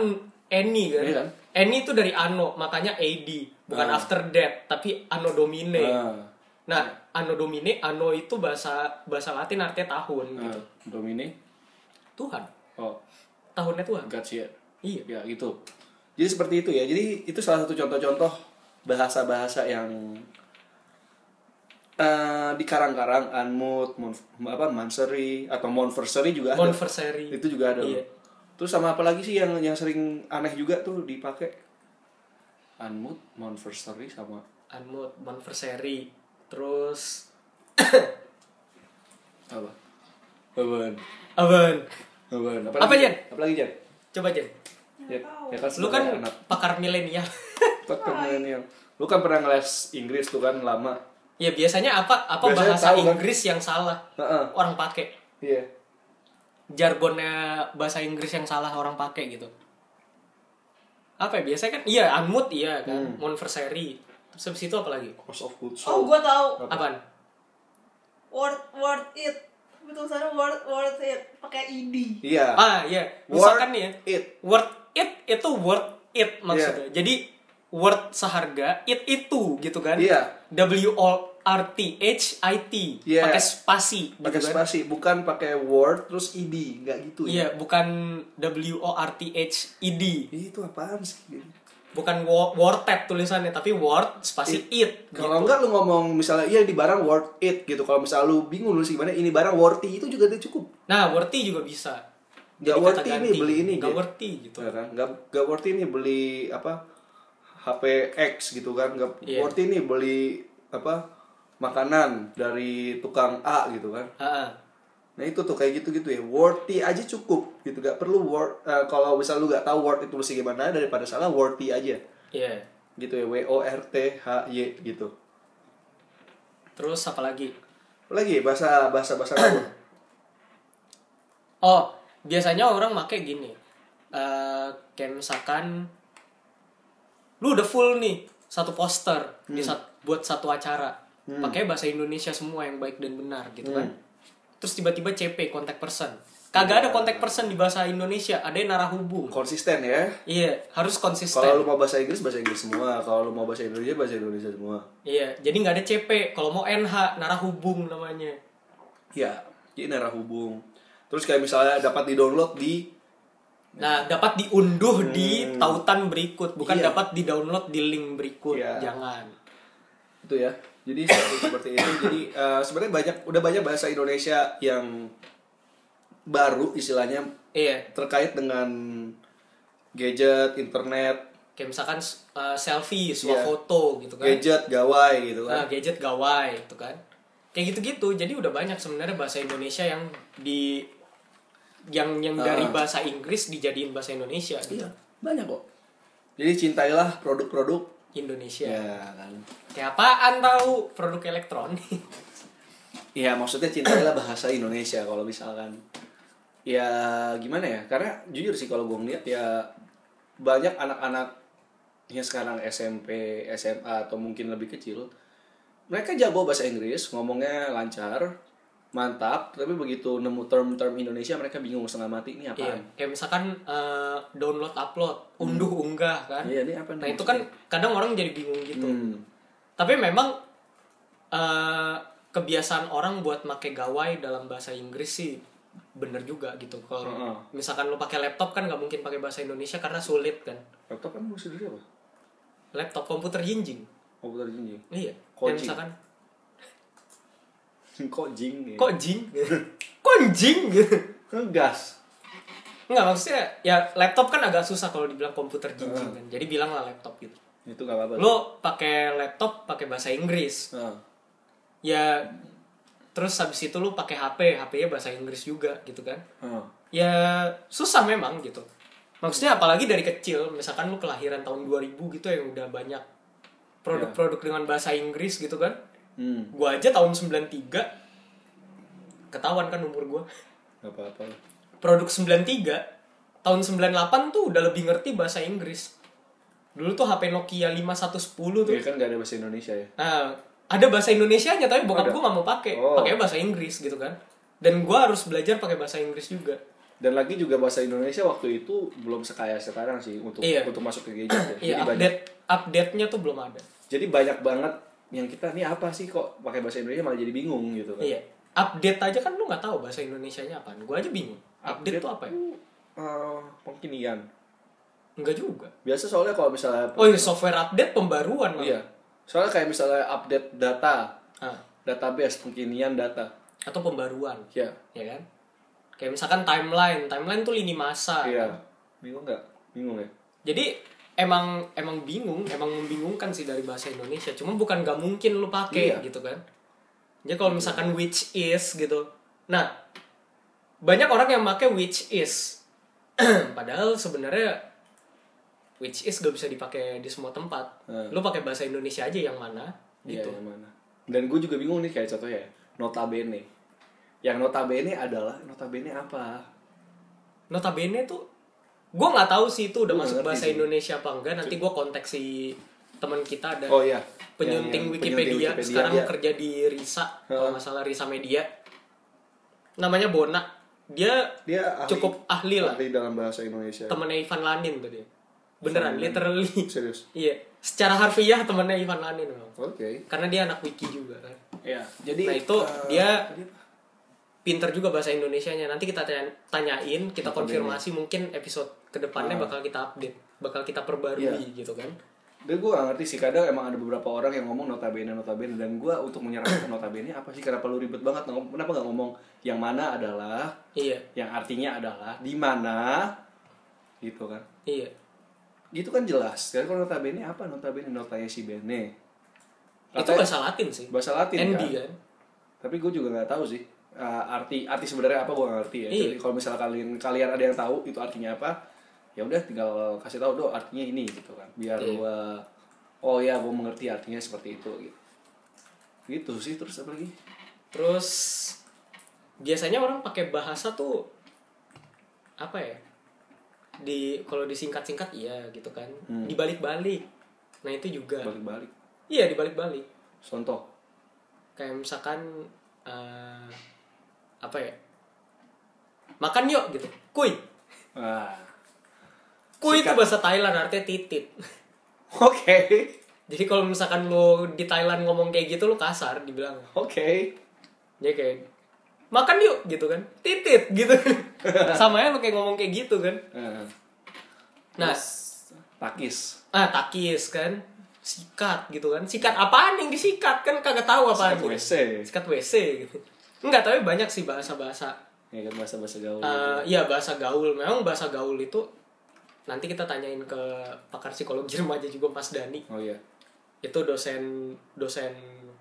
[SPEAKER 2] any kan.
[SPEAKER 1] Iya kan?
[SPEAKER 2] Any itu dari anno, makanya AD, bukan
[SPEAKER 1] Ah.
[SPEAKER 2] after death, tapi anno domine.
[SPEAKER 1] Nah,
[SPEAKER 2] Nah, anno domine, anno itu bahasa bahasa Latin artinya tahun
[SPEAKER 1] nah,
[SPEAKER 2] gitu.
[SPEAKER 1] Domine.
[SPEAKER 2] Tuhan.
[SPEAKER 1] Oh,
[SPEAKER 2] Tahunnya Tuhan.
[SPEAKER 1] Gatsya.
[SPEAKER 2] Iya.
[SPEAKER 1] Ya gitu. Jadi seperti itu ya. Jadi itu salah satu contoh-contoh bahasa-bahasa yang eh di karang-karang anmut, mon, apa manseri atau monversary juga (laughs) ada.
[SPEAKER 2] Anniversary.
[SPEAKER 1] itu juga ada.
[SPEAKER 2] Iya.
[SPEAKER 1] Terus sama apa lagi sih yang yang sering aneh juga tuh dipakai? Anmut, monversary sama
[SPEAKER 2] Anmut, anniversary. Terus (coughs)
[SPEAKER 1] apa? Apaan?
[SPEAKER 2] Aban.
[SPEAKER 1] Apaan? Apa,
[SPEAKER 2] Apa,
[SPEAKER 1] lagi,
[SPEAKER 2] Jan?
[SPEAKER 1] Apa lagi, Jan?
[SPEAKER 2] Coba aja.
[SPEAKER 1] Ya, ya kan
[SPEAKER 2] Lu
[SPEAKER 1] sebagai
[SPEAKER 2] kan
[SPEAKER 1] anak.
[SPEAKER 2] pakar milenial. (laughs)
[SPEAKER 1] Tetep milenial. Lu kan pernah ngeles Inggris tuh kan lama.
[SPEAKER 2] ya biasanya apa apa
[SPEAKER 1] Biasanya
[SPEAKER 2] bahasa
[SPEAKER 1] tahu kan.
[SPEAKER 2] Inggris yang salah
[SPEAKER 1] Heeh.
[SPEAKER 2] orang pakai.
[SPEAKER 1] Iya.
[SPEAKER 2] jargonnya bahasa Inggris yang salah orang pakai gitu. apa ya biasanya kan iya unmut iya kan
[SPEAKER 1] Hmm.
[SPEAKER 2] monversary terus habis itu apa lagi
[SPEAKER 1] Cost of goods
[SPEAKER 3] Oh, gua tahu.
[SPEAKER 2] apaan
[SPEAKER 3] Worth worth it. Betul sana worth worth it pakai E id.
[SPEAKER 1] Iya.
[SPEAKER 2] ah iya misalkan nih ya
[SPEAKER 1] it. Iya.
[SPEAKER 2] worth it itu worth it maksudnya jadi worth seharga it itu gitu kan
[SPEAKER 1] Iya.
[SPEAKER 2] W O R T H I T
[SPEAKER 1] Iya.
[SPEAKER 2] pakai spasi gitu
[SPEAKER 1] Pakai
[SPEAKER 2] kan.
[SPEAKER 1] spasi, bukan pakai word terus id, nggak gitu ya.
[SPEAKER 2] Iya, bukan W O R T H E D.
[SPEAKER 1] Ih, Itu apaan sih?
[SPEAKER 2] Gitu. Bukan wo- wortet tulisannya, tapi word spasi it.
[SPEAKER 1] Kalau
[SPEAKER 2] gitu.
[SPEAKER 1] enggak lu ngomong misalnya iya ini barang worth it gitu. Kalau misalnya lu bingung lu gimana ini barang worthy itu juga udah cukup.
[SPEAKER 2] Nah, worthy juga bisa.
[SPEAKER 1] Nggak
[SPEAKER 2] Jadi
[SPEAKER 1] worthy
[SPEAKER 2] kata
[SPEAKER 1] ini
[SPEAKER 2] ganti.
[SPEAKER 1] beli ini
[SPEAKER 2] Nggak
[SPEAKER 1] gitu.
[SPEAKER 2] worthy gitu.
[SPEAKER 1] Ya kan? Nggak nggak worthy ini beli apa HP X gitu kan. Nggak
[SPEAKER 2] Iya.
[SPEAKER 1] worthy ini beli apa makanan dari tukang A gitu kan.
[SPEAKER 2] Ha-ha.
[SPEAKER 1] Nah itu tuh kayak gitu-gitu ya. Worthy aja cukup gitu. Gak perlu word eh, kalau misal lu gak tahu word itu mesti gimana daripada salah worthy aja.
[SPEAKER 2] Iya.
[SPEAKER 1] Gitu ya W O R T H Y gitu.
[SPEAKER 2] Terus apa lagi?
[SPEAKER 1] Lagi bahasa bahasa bahasa kamu.
[SPEAKER 2] Oh, biasanya orang make gini. Eh, kayak misalkan lu udah full nih satu poster di
[SPEAKER 1] Hmm.
[SPEAKER 2] sat- buat satu acara. Pakai bahasa Indonesia semua yang baik dan benar gitu
[SPEAKER 1] Hmm.
[SPEAKER 2] kan. Terus tiba-tiba CP kontak person. Kagak ada kontak person di bahasa Indonesia, ada yang narah hubung.
[SPEAKER 1] Konsisten ya.
[SPEAKER 2] Iya, harus konsisten.
[SPEAKER 1] Kalau lu mau bahasa Inggris bahasa Inggris semua. Kalau lu mau bahasa Indonesia bahasa Indonesia semua.
[SPEAKER 2] Iya, jadi nggak ada CP. Kalau mau NH, narah hubung namanya.
[SPEAKER 1] Ya, jadi narah hubung. Terus kayak misalnya dapat di-download di
[SPEAKER 2] Nah, dapat diunduh di tautan berikut, bukan
[SPEAKER 1] Hmm. Iya.
[SPEAKER 2] dapat di-download di link berikut.
[SPEAKER 1] Iya.
[SPEAKER 2] Jangan.
[SPEAKER 1] itu ya. Jadi seperti, (coughs) seperti itu. Jadi eh, sebenarnya banyak udah banyak bahasa Indonesia yang baru istilahnya
[SPEAKER 2] Iya,
[SPEAKER 1] terkait dengan gadget, internet,
[SPEAKER 2] kayak misalkan uh, selfie, suap
[SPEAKER 1] Iya.
[SPEAKER 2] foto gitu kan.
[SPEAKER 1] gadget, gawai gitu
[SPEAKER 2] Nah,
[SPEAKER 1] kan.
[SPEAKER 2] gadget gawai gitu kan. Kayak gitu-gitu. Jadi udah banyak sebenarnya bahasa Indonesia yang di yang yang dari
[SPEAKER 1] Ah.
[SPEAKER 2] bahasa Inggris dijadiin bahasa Indonesia gitu.
[SPEAKER 1] Iya, banyak kok. Jadi cintailah produk-produk
[SPEAKER 2] Indonesia.
[SPEAKER 1] kan.
[SPEAKER 2] Kayak apaan tahu produk elektronik. (laughs)
[SPEAKER 1] Iya, maksudnya cintailah bahasa Indonesia kalau misalkan. Ya gimana ya? Karena jujur sih kalau gue ngeliat ya banyak anak-anak yang sekarang SMP, SMA atau mungkin lebih kecil, mereka jago bahasa Inggris, ngomongnya lancar, mantap, tapi begitu nemu term-term Indonesia mereka bingung setengah mati ini
[SPEAKER 2] Iya,
[SPEAKER 1] apaan.
[SPEAKER 2] kayak misalkan eh, download upload, unduh unggah kan.
[SPEAKER 1] Hmm. Iya, ini apa nih?
[SPEAKER 2] Nah, itu kan kadang orang jadi bingung gitu.
[SPEAKER 1] Hmm.
[SPEAKER 2] Tapi memang eh, kebiasaan orang buat make gawai dalam bahasa Inggris sih bener juga gitu. Kalau
[SPEAKER 1] Heeh.
[SPEAKER 2] misalkan lo pakai laptop kan nggak mungkin pakai bahasa Indonesia karena sulit kan.
[SPEAKER 1] Laptop kan mesti dari apa?
[SPEAKER 2] Laptop komputer jinjing.
[SPEAKER 1] Komputer jinjing. (laughs)
[SPEAKER 2] Iya.
[SPEAKER 1] Kok
[SPEAKER 2] Kayak
[SPEAKER 1] jing?
[SPEAKER 2] misalkan
[SPEAKER 1] Kok jing ya? Kan
[SPEAKER 2] kok jing? (laughs) kok jing gitu.
[SPEAKER 1] Ngegas.
[SPEAKER 2] Enggak maksudnya ya laptop kan agak susah kalau dibilang komputer jinjing kan. Jadi bilanglah laptop gitu.
[SPEAKER 1] Itu gak apa-apa. Ah,
[SPEAKER 2] Lo pakai laptop pakai bahasa Inggris.
[SPEAKER 1] Heeh.
[SPEAKER 2] ya terus habis itu lu pakai HP, HP-nya bahasa Inggris juga gitu kan.
[SPEAKER 1] Heeh.
[SPEAKER 2] Ya susah memang gitu. Maksudnya apalagi dari kecil, misalkan lu kelahiran tahun 2000 gitu yang udah banyak produk-produk dengan bahasa Inggris gitu kan.
[SPEAKER 1] Hmm,
[SPEAKER 2] Gua aja tahun 93 ketahuan kan umur gua.
[SPEAKER 1] gak apa-apa.
[SPEAKER 2] Produk 93 tahun 98 tuh udah lebih ngerti bahasa Inggris. Dulu tuh HP Nokia 5110 tuh
[SPEAKER 1] Iya kan gak ada bahasa Indonesia ya.
[SPEAKER 2] Nah, ada bahasa Indonesianya tapi bokap
[SPEAKER 1] Ada.
[SPEAKER 2] gue gak mau pakai.
[SPEAKER 1] Oh.
[SPEAKER 2] Pakainya bahasa Inggris gitu kan. Dan gue harus belajar pakai bahasa Inggris juga.
[SPEAKER 1] Dan lagi juga bahasa Indonesia waktu itu belum sekaya sekarang sih untuk
[SPEAKER 2] Iya.
[SPEAKER 1] untuk masuk ke gadget. ya.
[SPEAKER 2] (clears throat) Iya,
[SPEAKER 1] jadi banyak
[SPEAKER 2] update update-nya tuh belum ada.
[SPEAKER 1] jadi banyak banget yang kita nih apa sih kok pakai bahasa Indonesia malah jadi bingung gitu kan.
[SPEAKER 2] Iya. Update aja kan lu nggak tahu bahasa Indonesianya apaan. Gue aja bingung. Update, tuh apa ya?
[SPEAKER 1] Eh, pengkinian.
[SPEAKER 2] Enggak juga.
[SPEAKER 1] Biasa soalnya kalau misalnya
[SPEAKER 2] Oh, iya, software update pembaruan malah.
[SPEAKER 1] iya. Soalnya kayak misalnya update data,
[SPEAKER 2] Ah,
[SPEAKER 1] database pengkinian data.
[SPEAKER 2] atau pembaruan,
[SPEAKER 1] Ya.
[SPEAKER 2] ya kan? Kayak misalkan timeline, timeline tuh lini masa.
[SPEAKER 1] Iya. Bingung nggak? Bingung ya.
[SPEAKER 2] Jadi emang emang bingung, emang membingungkan sih dari bahasa Indonesia. Cuma bukan gak mungkin lu pakai
[SPEAKER 1] Iya.
[SPEAKER 2] gitu kan. Jadi kalau misalkan which is gitu. Nah, banyak orang yang pakai which is. (clears throat) Padahal sebenarnya which is gak bisa dipakai di semua tempat.
[SPEAKER 1] Hmm.
[SPEAKER 2] Lu pakai bahasa Indonesia aja yang mana
[SPEAKER 1] Iya,
[SPEAKER 2] gitu.
[SPEAKER 1] yang mana. Dan gue juga bingung nih kayak contohnya ya, notabene. Yang notabene adalah notabene apa?
[SPEAKER 2] Notabene tuh gue nggak tahu sih itu udah
[SPEAKER 1] Gua
[SPEAKER 2] masuk
[SPEAKER 1] nggak ngerti
[SPEAKER 2] bahasa
[SPEAKER 1] sih.
[SPEAKER 2] Indonesia apa enggak nanti gue kontak si teman kita ada
[SPEAKER 1] Oh iya.
[SPEAKER 2] penyunting,
[SPEAKER 1] Yang- yang
[SPEAKER 2] Wikipedia, sekarang
[SPEAKER 1] dia.
[SPEAKER 2] kerja di Risa
[SPEAKER 1] Heeh.
[SPEAKER 2] kalau nggak salah Risa Media namanya Bona dia
[SPEAKER 1] dia ahli-
[SPEAKER 2] cukup ahli lah
[SPEAKER 1] ahli dalam bahasa Indonesia.
[SPEAKER 2] temennya Ivan Lanin tuh dia beneran literally
[SPEAKER 1] Serius.
[SPEAKER 2] (laughs) iya secara harfiah temennya Ivan Lanin memang.
[SPEAKER 1] Oke.
[SPEAKER 2] karena dia anak wiki juga kan
[SPEAKER 1] Iya. Jadi
[SPEAKER 2] Nah, itu
[SPEAKER 1] eh,
[SPEAKER 2] dia- pinter juga bahasa Indonesianya nanti kita tanya- tanyain kita
[SPEAKER 1] Apa
[SPEAKER 2] konfirmasi mungkin episode kedepannya
[SPEAKER 1] Ah.
[SPEAKER 2] bakal kita update bakal kita perbarui
[SPEAKER 1] Iya.
[SPEAKER 2] gitu kan
[SPEAKER 1] Dan gue gak ngerti sih, kadang emang ada beberapa orang yang ngomong notabene, notabene Dan gue untuk menyerahkan (coughs) notabene apa sih, kenapa lu ribet banget ngom- Kenapa gak ngomong yang mana adalah,
[SPEAKER 2] iya
[SPEAKER 1] yang artinya adalah, di mana Gitu kan
[SPEAKER 2] iya
[SPEAKER 1] Gitu kan jelas, kan kalau notabene apa notabene, notanya si Bene
[SPEAKER 2] itu
[SPEAKER 1] Katanya-
[SPEAKER 2] bahasa Latin sih
[SPEAKER 1] bahasa Latin kan?
[SPEAKER 2] ND kan
[SPEAKER 1] Tapi gue juga gak tahu sih eh, arti arti sebenarnya apa gue gak ngerti ya
[SPEAKER 2] Iya.
[SPEAKER 1] Jadi kalau misalnya kalian kalian ada yang tahu itu artinya apa ya udah tinggal kasih tahu do artinya ini gitu kan biar
[SPEAKER 2] Iya.
[SPEAKER 1] gue oh ya gue mengerti artinya seperti itu gitu gitu sih terus apa lagi
[SPEAKER 2] Terus biasanya orang pakai bahasa tuh apa ya? Di kalau disingkat-singkat iya gitu kan.
[SPEAKER 1] Hmm.
[SPEAKER 2] Dibalik-balik. Nah, itu juga.
[SPEAKER 1] balik-balik
[SPEAKER 2] Iya, dibalik-balik.
[SPEAKER 1] contoh
[SPEAKER 2] Kayak misalkan eh, apa ya? Makan yuk gitu. Kui.
[SPEAKER 1] ah (laughs)
[SPEAKER 2] Kui itu
[SPEAKER 1] Sikat.
[SPEAKER 2] bahasa Thailand artinya titit. (laughs)
[SPEAKER 1] oke
[SPEAKER 2] Jadi kalau misalkan lu di Thailand ngomong kayak gitu lu kasar dibilang.
[SPEAKER 1] oke
[SPEAKER 2] Jadi kayak makan yuk gitu kan. Titit gitu. (laughs) Sama ya lu kayak ngomong kayak gitu kan.
[SPEAKER 1] Eh,
[SPEAKER 2] Nah,
[SPEAKER 1] takis
[SPEAKER 2] ah takis kan, sikat gitu kan. Sikat apaan yang disikat kan kagak tahu
[SPEAKER 1] Sikat
[SPEAKER 2] apaan. gitu.
[SPEAKER 1] WC.
[SPEAKER 2] Sikat WC gitu. Enggak, tapi banyak sih bahasa-bahasa.
[SPEAKER 1] ya kan bahasa bahasa gaul
[SPEAKER 2] Eh, Iya, bahasa gaul. Memang bahasa gaul itu nanti kita tanyain ke pakar psikologi remaja juga Mas Dani.
[SPEAKER 1] oh iya
[SPEAKER 2] Itu dosen dosen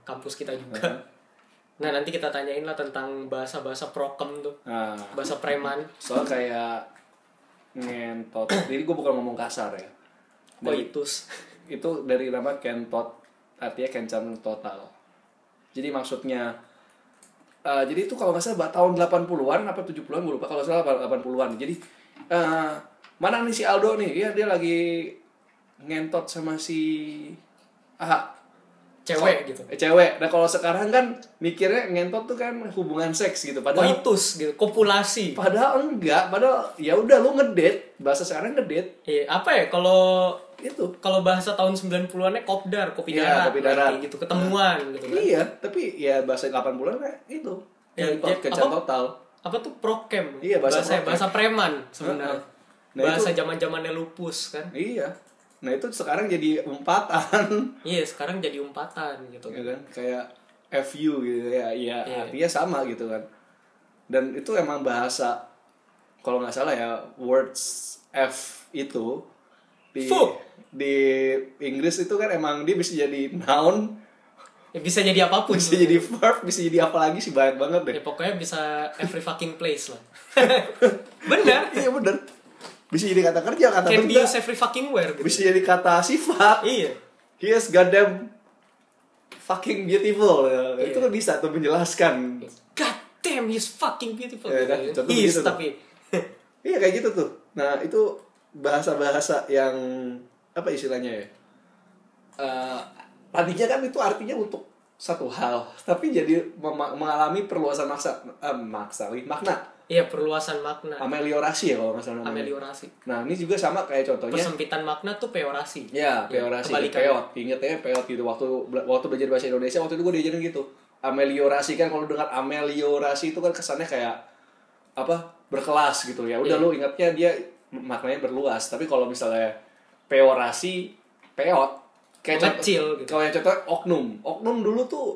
[SPEAKER 2] kampus kita juga. Nah, nanti kita tanyain lah tentang bahasa-bahasa prokem tuh.
[SPEAKER 1] ah
[SPEAKER 2] Bahasa preman.
[SPEAKER 1] soal kayak ngentot jadi gue bukan ngomong kasar ya Dari-
[SPEAKER 2] Koitus.
[SPEAKER 1] itu dari nama kentot artinya kencan total jadi maksudnya eh, jadi itu kalau nggak salah bah- tahun 80-an apa 70-an gue lupa kalau nggak salah 80-an jadi eh, mana nih si Aldo nih iya dia lagi ngentot sama si Aha
[SPEAKER 2] Cewek gitu.
[SPEAKER 1] Eh, cewek nah kalau sekarang kan mikirnya ngentot tuh kan hubungan seks gitu padahal
[SPEAKER 2] Koitus gitu, kopulasi.
[SPEAKER 1] padahal enggak padahal ya udah lu ngedate bahasa sekarang ngedate gitu.
[SPEAKER 2] Iya, apa ya kalau
[SPEAKER 1] itu
[SPEAKER 2] kalau bahasa tahun 90-an -nya kopdar, kopi
[SPEAKER 1] Iya,
[SPEAKER 2] darat,
[SPEAKER 1] kopi darat.
[SPEAKER 2] berarti gitu, ketemuan gitu kan.
[SPEAKER 1] iya tapi ya bahasa 80-an kan itu
[SPEAKER 2] Ya,
[SPEAKER 1] yang
[SPEAKER 2] ya,
[SPEAKER 1] kecan
[SPEAKER 2] apa?
[SPEAKER 1] total
[SPEAKER 2] Apa tuh prokem?
[SPEAKER 1] Iya, bahasa
[SPEAKER 2] bahasa,
[SPEAKER 1] prokem.
[SPEAKER 2] bahasa preman sebenarnya.
[SPEAKER 1] Heeh. Nah,
[SPEAKER 2] bahasa zaman-zamannya lupus kan.
[SPEAKER 1] iya nah itu sekarang jadi umpatan (laughs)
[SPEAKER 2] Iya, sekarang jadi umpatan gitu.
[SPEAKER 1] ya kan kayak fu gitu ya ya
[SPEAKER 2] Iya.
[SPEAKER 1] artinya sama gitu kan dan itu emang bahasa kalau nggak salah ya words f itu di
[SPEAKER 2] Fu.
[SPEAKER 1] di Inggris itu kan emang dia bisa jadi noun
[SPEAKER 2] Ya, bisa jadi apapun.
[SPEAKER 1] bisa jadi verb bisa jadi apa lagi sih banyak banget deh
[SPEAKER 2] Ya, pokoknya bisa every fucking place lah. (laughs) Bener.
[SPEAKER 1] iya bener bisa jadi kata kerja kata
[SPEAKER 2] Can be
[SPEAKER 1] benda
[SPEAKER 2] used every fucking where gitu.
[SPEAKER 1] bisa jadi kata sifat
[SPEAKER 2] Iya.
[SPEAKER 1] he is goddamn fucking beautiful itu
[SPEAKER 2] Iya.
[SPEAKER 1] kan bisa tuh menjelaskan
[SPEAKER 2] God damn, he's fucking beautiful.
[SPEAKER 1] Ya, kan,
[SPEAKER 2] Gitu.
[SPEAKER 1] contoh
[SPEAKER 2] He's
[SPEAKER 1] begitu tuh.
[SPEAKER 2] tapi (laughs)
[SPEAKER 1] iya kayak gitu tuh nah itu bahasa-bahasa yang apa istilahnya ya Eh, tadinya kan itu artinya untuk satu hal tapi jadi mema- mengalami perluasan maksa eh, maksa lagi makna
[SPEAKER 2] iya perluasan makna,
[SPEAKER 1] ameliorasi ya kalau nggak salah namanya.
[SPEAKER 2] ameliorasi.
[SPEAKER 1] nah ini juga sama kayak contohnya
[SPEAKER 2] Persempitan makna tuh peorasi.
[SPEAKER 1] Ya, peorasi,
[SPEAKER 2] kebalikannya.
[SPEAKER 1] peot. Ingatnya peot gitu. Waktu waktu belajar bahasa Indonesia, waktu itu gue diajarin gitu. Ameliorasi kan kalau dengar ameliorasi itu kan kesannya kayak apa? Berkelas gitu ya. Udah
[SPEAKER 2] Iya.
[SPEAKER 1] lu ingatnya dia maknanya berluas. Tapi kalau misalnya peorasi, peot kayak contoh-
[SPEAKER 2] Mengecil gitu.
[SPEAKER 1] Kalau yang contoh oknum. Oknum dulu tuh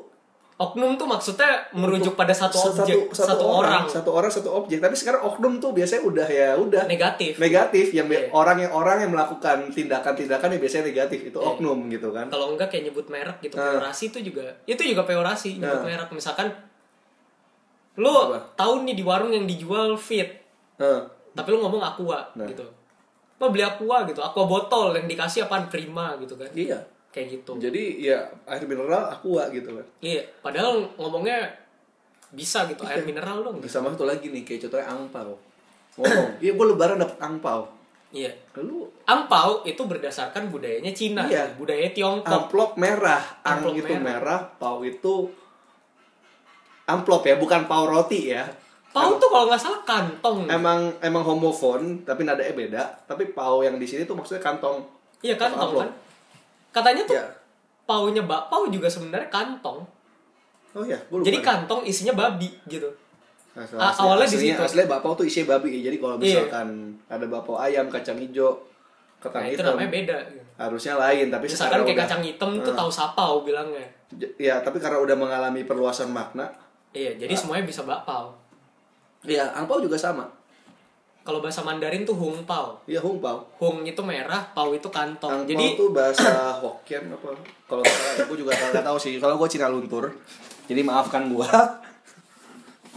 [SPEAKER 2] Oknum tuh maksudnya merujuk pada satu
[SPEAKER 1] satu,
[SPEAKER 2] objek, satu,
[SPEAKER 1] satu
[SPEAKER 2] orang,
[SPEAKER 1] satu orang, satu objek. Tapi sekarang oknum tuh biasanya udah ya udah
[SPEAKER 2] negatif.
[SPEAKER 1] negatif yang bi-
[SPEAKER 2] Iya.
[SPEAKER 1] orang yang orang yang melakukan tindakan-tindakan yang biasanya negatif
[SPEAKER 2] Iya.
[SPEAKER 1] itu oknum gitu kan.
[SPEAKER 2] Kalau enggak kayak nyebut merek gitu,
[SPEAKER 1] Nah.
[SPEAKER 2] peorasi itu juga, itu juga peorasi nyebut
[SPEAKER 1] Nah.
[SPEAKER 2] merek. Misalkan lu
[SPEAKER 1] Apa?
[SPEAKER 2] tahu nih di warung yang dijual fit,
[SPEAKER 1] Heeh.
[SPEAKER 2] tapi lu ngomong aqua
[SPEAKER 1] Nah.
[SPEAKER 2] gitu. Mau beli aqua gitu, aqua botol yang dikasih apaan prima gitu kan.
[SPEAKER 1] Iya.
[SPEAKER 2] Kayak gitu.
[SPEAKER 1] Jadi ya air mineral aqua gitu kan.
[SPEAKER 2] Iya, padahal ngomongnya bisa gitu, air mineral dong. (clears throat)
[SPEAKER 1] Sama satu lagi nih kayak contohnya angpau. Ngomong, iya gue lebaran iya, dapet angpau.
[SPEAKER 2] Iya.
[SPEAKER 1] Lu
[SPEAKER 2] Angpau itu berdasarkan budayanya Cina,
[SPEAKER 1] Iya.
[SPEAKER 2] budaya Tiongkok.
[SPEAKER 1] amplop merah, ang
[SPEAKER 2] Amplop
[SPEAKER 1] itu
[SPEAKER 2] merah.
[SPEAKER 1] merah, pau itu amplop ya, bukan pau roti ya.
[SPEAKER 2] Pau tuh kalau nggak salah kantong.
[SPEAKER 1] Emang emang homofon, tapi nadanya beda. Tapi pau yang di sini tuh maksudnya kantong.
[SPEAKER 2] Iya kantong
[SPEAKER 1] Amplop.
[SPEAKER 2] kan. Katanya tuh
[SPEAKER 1] Ya.
[SPEAKER 2] paunya bak pau juga sebenarnya kantong.
[SPEAKER 1] Oh ya, gue lupa.
[SPEAKER 2] Jadi
[SPEAKER 1] nih.
[SPEAKER 2] kantong isinya babi gitu.
[SPEAKER 1] Asal-
[SPEAKER 2] A-
[SPEAKER 1] asli-
[SPEAKER 2] awalnya di
[SPEAKER 1] aslinya-
[SPEAKER 2] situ.
[SPEAKER 1] Aslinya bakpao tuh isinya babi ya. Jadi kalau
[SPEAKER 2] Iya.
[SPEAKER 1] misalkan ada bakpao ayam, kacang hijau, kacang
[SPEAKER 2] Nah, itu
[SPEAKER 1] hitam,
[SPEAKER 2] namanya beda.
[SPEAKER 1] harusnya lain. Tapi
[SPEAKER 2] Misalkan
[SPEAKER 1] sekarang
[SPEAKER 2] kayak
[SPEAKER 1] udah,
[SPEAKER 2] kacang hitam tuh
[SPEAKER 1] Ah.
[SPEAKER 2] tahu sapau bilangnya.
[SPEAKER 1] J- ya tapi karena udah mengalami perluasan makna,
[SPEAKER 2] Iya,
[SPEAKER 1] Ah.
[SPEAKER 2] jadi semuanya bisa bakpao.
[SPEAKER 1] ya angpau juga sama.
[SPEAKER 2] Kalau bahasa Mandarin tuh hung pao.
[SPEAKER 1] Ya hongpao.
[SPEAKER 2] Hung itu merah, pau itu kantong.
[SPEAKER 1] Angpau
[SPEAKER 2] Jadi
[SPEAKER 1] tuh bahasa Hokkien apa? Kalau nggak salah, gue juga nggak tahu sih. Kalau gue Cina luntur, jadi maafkan gue. (laughs)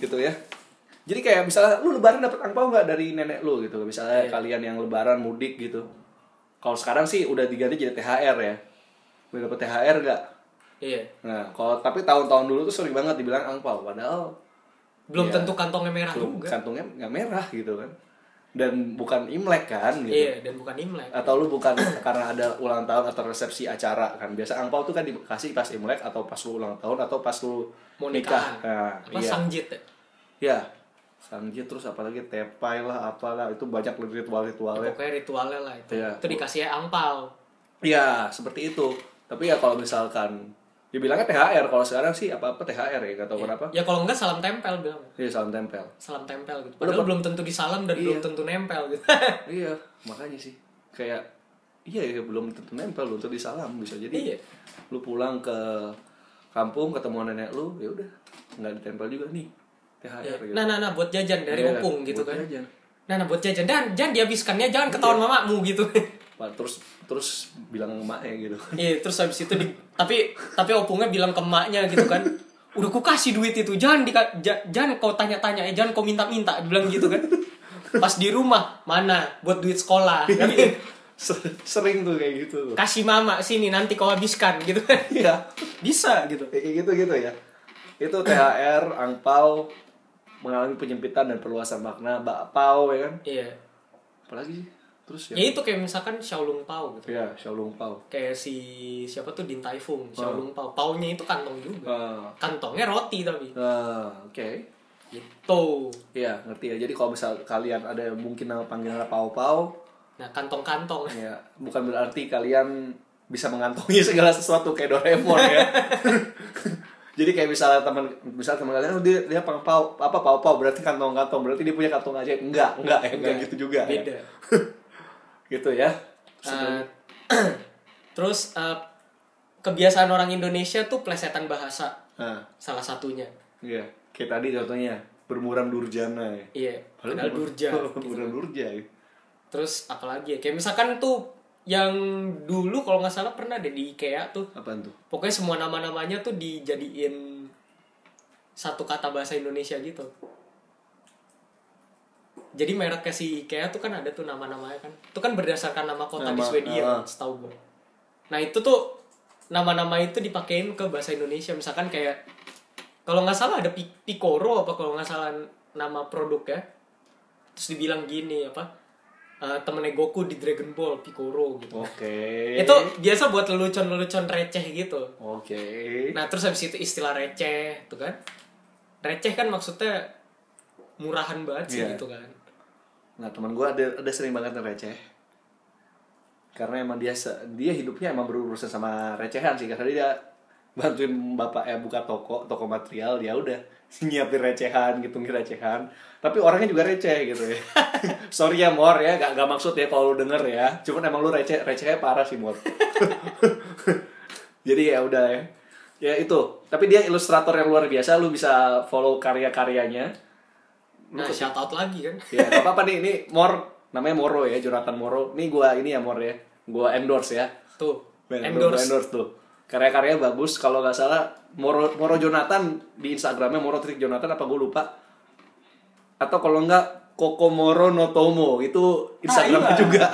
[SPEAKER 1] gitu ya. Jadi kayak misalnya lu lebaran dapet angpau nggak dari nenek lu gitu. Misalnya
[SPEAKER 2] Iya.
[SPEAKER 1] kalian yang lebaran mudik gitu. Kalau sekarang sih udah diganti jadi THR ya. Udah dapet THR nggak?
[SPEAKER 2] iya,
[SPEAKER 1] Nah, kalau tapi tahun-tahun dulu tuh sering banget dibilang angpau. Padahal
[SPEAKER 2] belum
[SPEAKER 1] Iya. kan,
[SPEAKER 2] tentu kantongnya merah
[SPEAKER 1] lu-
[SPEAKER 2] juga.
[SPEAKER 1] kantungnya nggak merah gitu kan. Dan bukan Imlek kan gitu.
[SPEAKER 2] Iya, dan bukan Imlek.
[SPEAKER 1] atau lu bukan (coughs) karena ada ulang tahun atau resepsi acara kan biasa angpau tuh kan dikasih pas imlek atau pas lu ulang tahun atau pas lu
[SPEAKER 2] Mau
[SPEAKER 1] nikah
[SPEAKER 2] nikahan.
[SPEAKER 1] nah,
[SPEAKER 2] Apa
[SPEAKER 1] iya
[SPEAKER 2] sangjit ya?
[SPEAKER 1] ya sanjit terus apalagi tepai lah apalah itu banyak lebih ritual ritualnya
[SPEAKER 2] Pokoknya ritualnya lah itu.
[SPEAKER 1] ya. Iya.
[SPEAKER 2] Itu dikasih angpau.
[SPEAKER 1] ya seperti itu tapi ya kalau misalkan dibilangnya thr kalau sekarang sih apa apa thr ya nggak tahu kenapa
[SPEAKER 2] Ya kalau enggak salam tempel bilang.
[SPEAKER 1] ya salam tempel
[SPEAKER 2] Salam tempel gitu.
[SPEAKER 1] Padahal
[SPEAKER 2] Padahal belum tentu disalam dan
[SPEAKER 1] Iya.
[SPEAKER 2] belum tentu nempel
[SPEAKER 1] (laughs)
[SPEAKER 2] gitu.
[SPEAKER 1] iya makanya sih kayak iya ya belum tentu nempel belum tentu disalam bisa jadi
[SPEAKER 2] Iya.
[SPEAKER 1] lu pulang ke kampung ketemu nenek lu ya udah nggak ditempel juga nih THR
[SPEAKER 2] Iya.
[SPEAKER 1] gitu.
[SPEAKER 2] Nah, nah, nah buat jajan dari
[SPEAKER 1] Iya,
[SPEAKER 2] opung gitu
[SPEAKER 1] buat
[SPEAKER 2] kan.
[SPEAKER 1] jajan. Iya.
[SPEAKER 2] Nah, nah buat jajan dan jangan dihabiskannya, jangan ketahuan mamamu gitu. (laughs)
[SPEAKER 1] Wah, terus terus bilang emak ya gitu (laughs)
[SPEAKER 2] Iya, terus habis itu di- tapi tapi opungnya bilang ke emaknya gitu kan. Udah ku kasih duit itu, jangan di, jangan kau tanya-tanya, eh, jangan kau minta-minta, dia bilang gitu kan. Pas di rumah, mana buat duit sekolah.
[SPEAKER 1] Iya.
[SPEAKER 2] kan.
[SPEAKER 1] Ser- sering tuh kayak gitu tuh.
[SPEAKER 2] kasih mama sini nanti kau habiskan gitu (laughs) kan.
[SPEAKER 1] iya
[SPEAKER 2] Bisa gitu.
[SPEAKER 1] Ya, kayak gitu gitu ya itu THR angpau mengalami penyempitan dan perluasan makna bakpao ya kan
[SPEAKER 2] Iya.
[SPEAKER 1] apalagi sih terus ya
[SPEAKER 2] Ya itu kayak misalkan Shaolong Pau gitu.
[SPEAKER 1] ya Shaolong Pao
[SPEAKER 2] Kayak si siapa tuh Din
[SPEAKER 1] Oh.
[SPEAKER 2] Taifung, Shaolong Pau. Paunya itu kantong juga.
[SPEAKER 1] Ah,
[SPEAKER 2] Kantongnya roti tapi.
[SPEAKER 1] ah, oke
[SPEAKER 2] Gitu.
[SPEAKER 1] Iya, ngerti ya. Jadi kalau misal kalian ada mungkin nama panggilan pau-pau,
[SPEAKER 2] Nah, kantong-kantong.
[SPEAKER 1] ya bukan berarti kalian bisa mengantongi (laughs) segala sesuatu kayak Doraemon ya. (laughs) Jadi kayak misalnya teman misal teman kalian "Oh, dia dia pang pau apa pau-pau berarti kantong-kantong, berarti dia punya kantong aja. Enggak, enggak, ya, enggak
[SPEAKER 2] Enggak.
[SPEAKER 1] gitu juga. ya.
[SPEAKER 2] Beda.
[SPEAKER 1] gitu ya.
[SPEAKER 2] Eh, (clears throat) terus eh, kebiasaan orang Indonesia tuh plesetan bahasa
[SPEAKER 1] Nah,
[SPEAKER 2] salah satunya.
[SPEAKER 1] iya. Kayak tadi contohnya bermuram durjana ya.
[SPEAKER 2] Iya, padahal durja. gitu.
[SPEAKER 1] (laughs) Bermuram durja. ya.
[SPEAKER 2] Terus apalagi ya? Kayak misalkan tuh yang dulu kalau nggak salah pernah deh di IKEA tuh
[SPEAKER 1] Apaan tuh?
[SPEAKER 2] pokoknya semua nama-namanya tuh dijadiin satu kata bahasa Indonesia gitu. Jadi mereknya si IKEA tuh kan ada tuh nama-namanya kan. Itu kan berdasarkan nama kota di
[SPEAKER 1] Nama,
[SPEAKER 2] Swedia
[SPEAKER 1] ah.
[SPEAKER 2] setahu gue. Nah, itu tuh nama-nama itu dipakein ke bahasa Indonesia misalkan kayak kalau nggak salah ada Pi- Picoro apa kalau nggak salah nama produknya. Terus dibilang gini apa? eh, temennya Goku di Dragon Ball Picoro gitu
[SPEAKER 1] Oke.
[SPEAKER 2] itu biasa buat lelucon-lelucon receh gitu
[SPEAKER 1] Oke.
[SPEAKER 2] nah terus habis itu istilah receh tuh kan receh kan maksudnya murahan banget sih
[SPEAKER 1] Iya.
[SPEAKER 2] gitu kan
[SPEAKER 1] Nah teman gue ada ada sering banget receh karena emang dia se- dia hidupnya emang berurusan sama recehan sih karena dia bantuin bapak eh buka toko toko material dia udah nyiapin recehan ngitungin recehan tapi orangnya juga receh gitu ya (laughs) sorry ya mor ya gak, gak maksud ya kalau lu denger ya cuman emang lu receh recehnya parah sih mor (laughs) jadi ya udah ya ya itu tapi dia ilustrator yang luar biasa lu bisa follow karya-karyanya Lu
[SPEAKER 2] nah
[SPEAKER 1] ke-
[SPEAKER 2] shout out lagi kan
[SPEAKER 1] ya gak apa-apa nih ini Mor namanya Moro ya Jonathan Moro nih gua ini ya Mor ya gua endorse ya
[SPEAKER 2] tuh
[SPEAKER 1] Ben, gua
[SPEAKER 2] endorse
[SPEAKER 1] endorse tuh karya-karya bagus kalau nggak salah Moro Moro Jonathan di Instagramnya Moro Trik Jonathan apa gua lupa atau kalau nggak Kokomoro Notomo itu Instagramnya
[SPEAKER 2] iya.
[SPEAKER 1] juga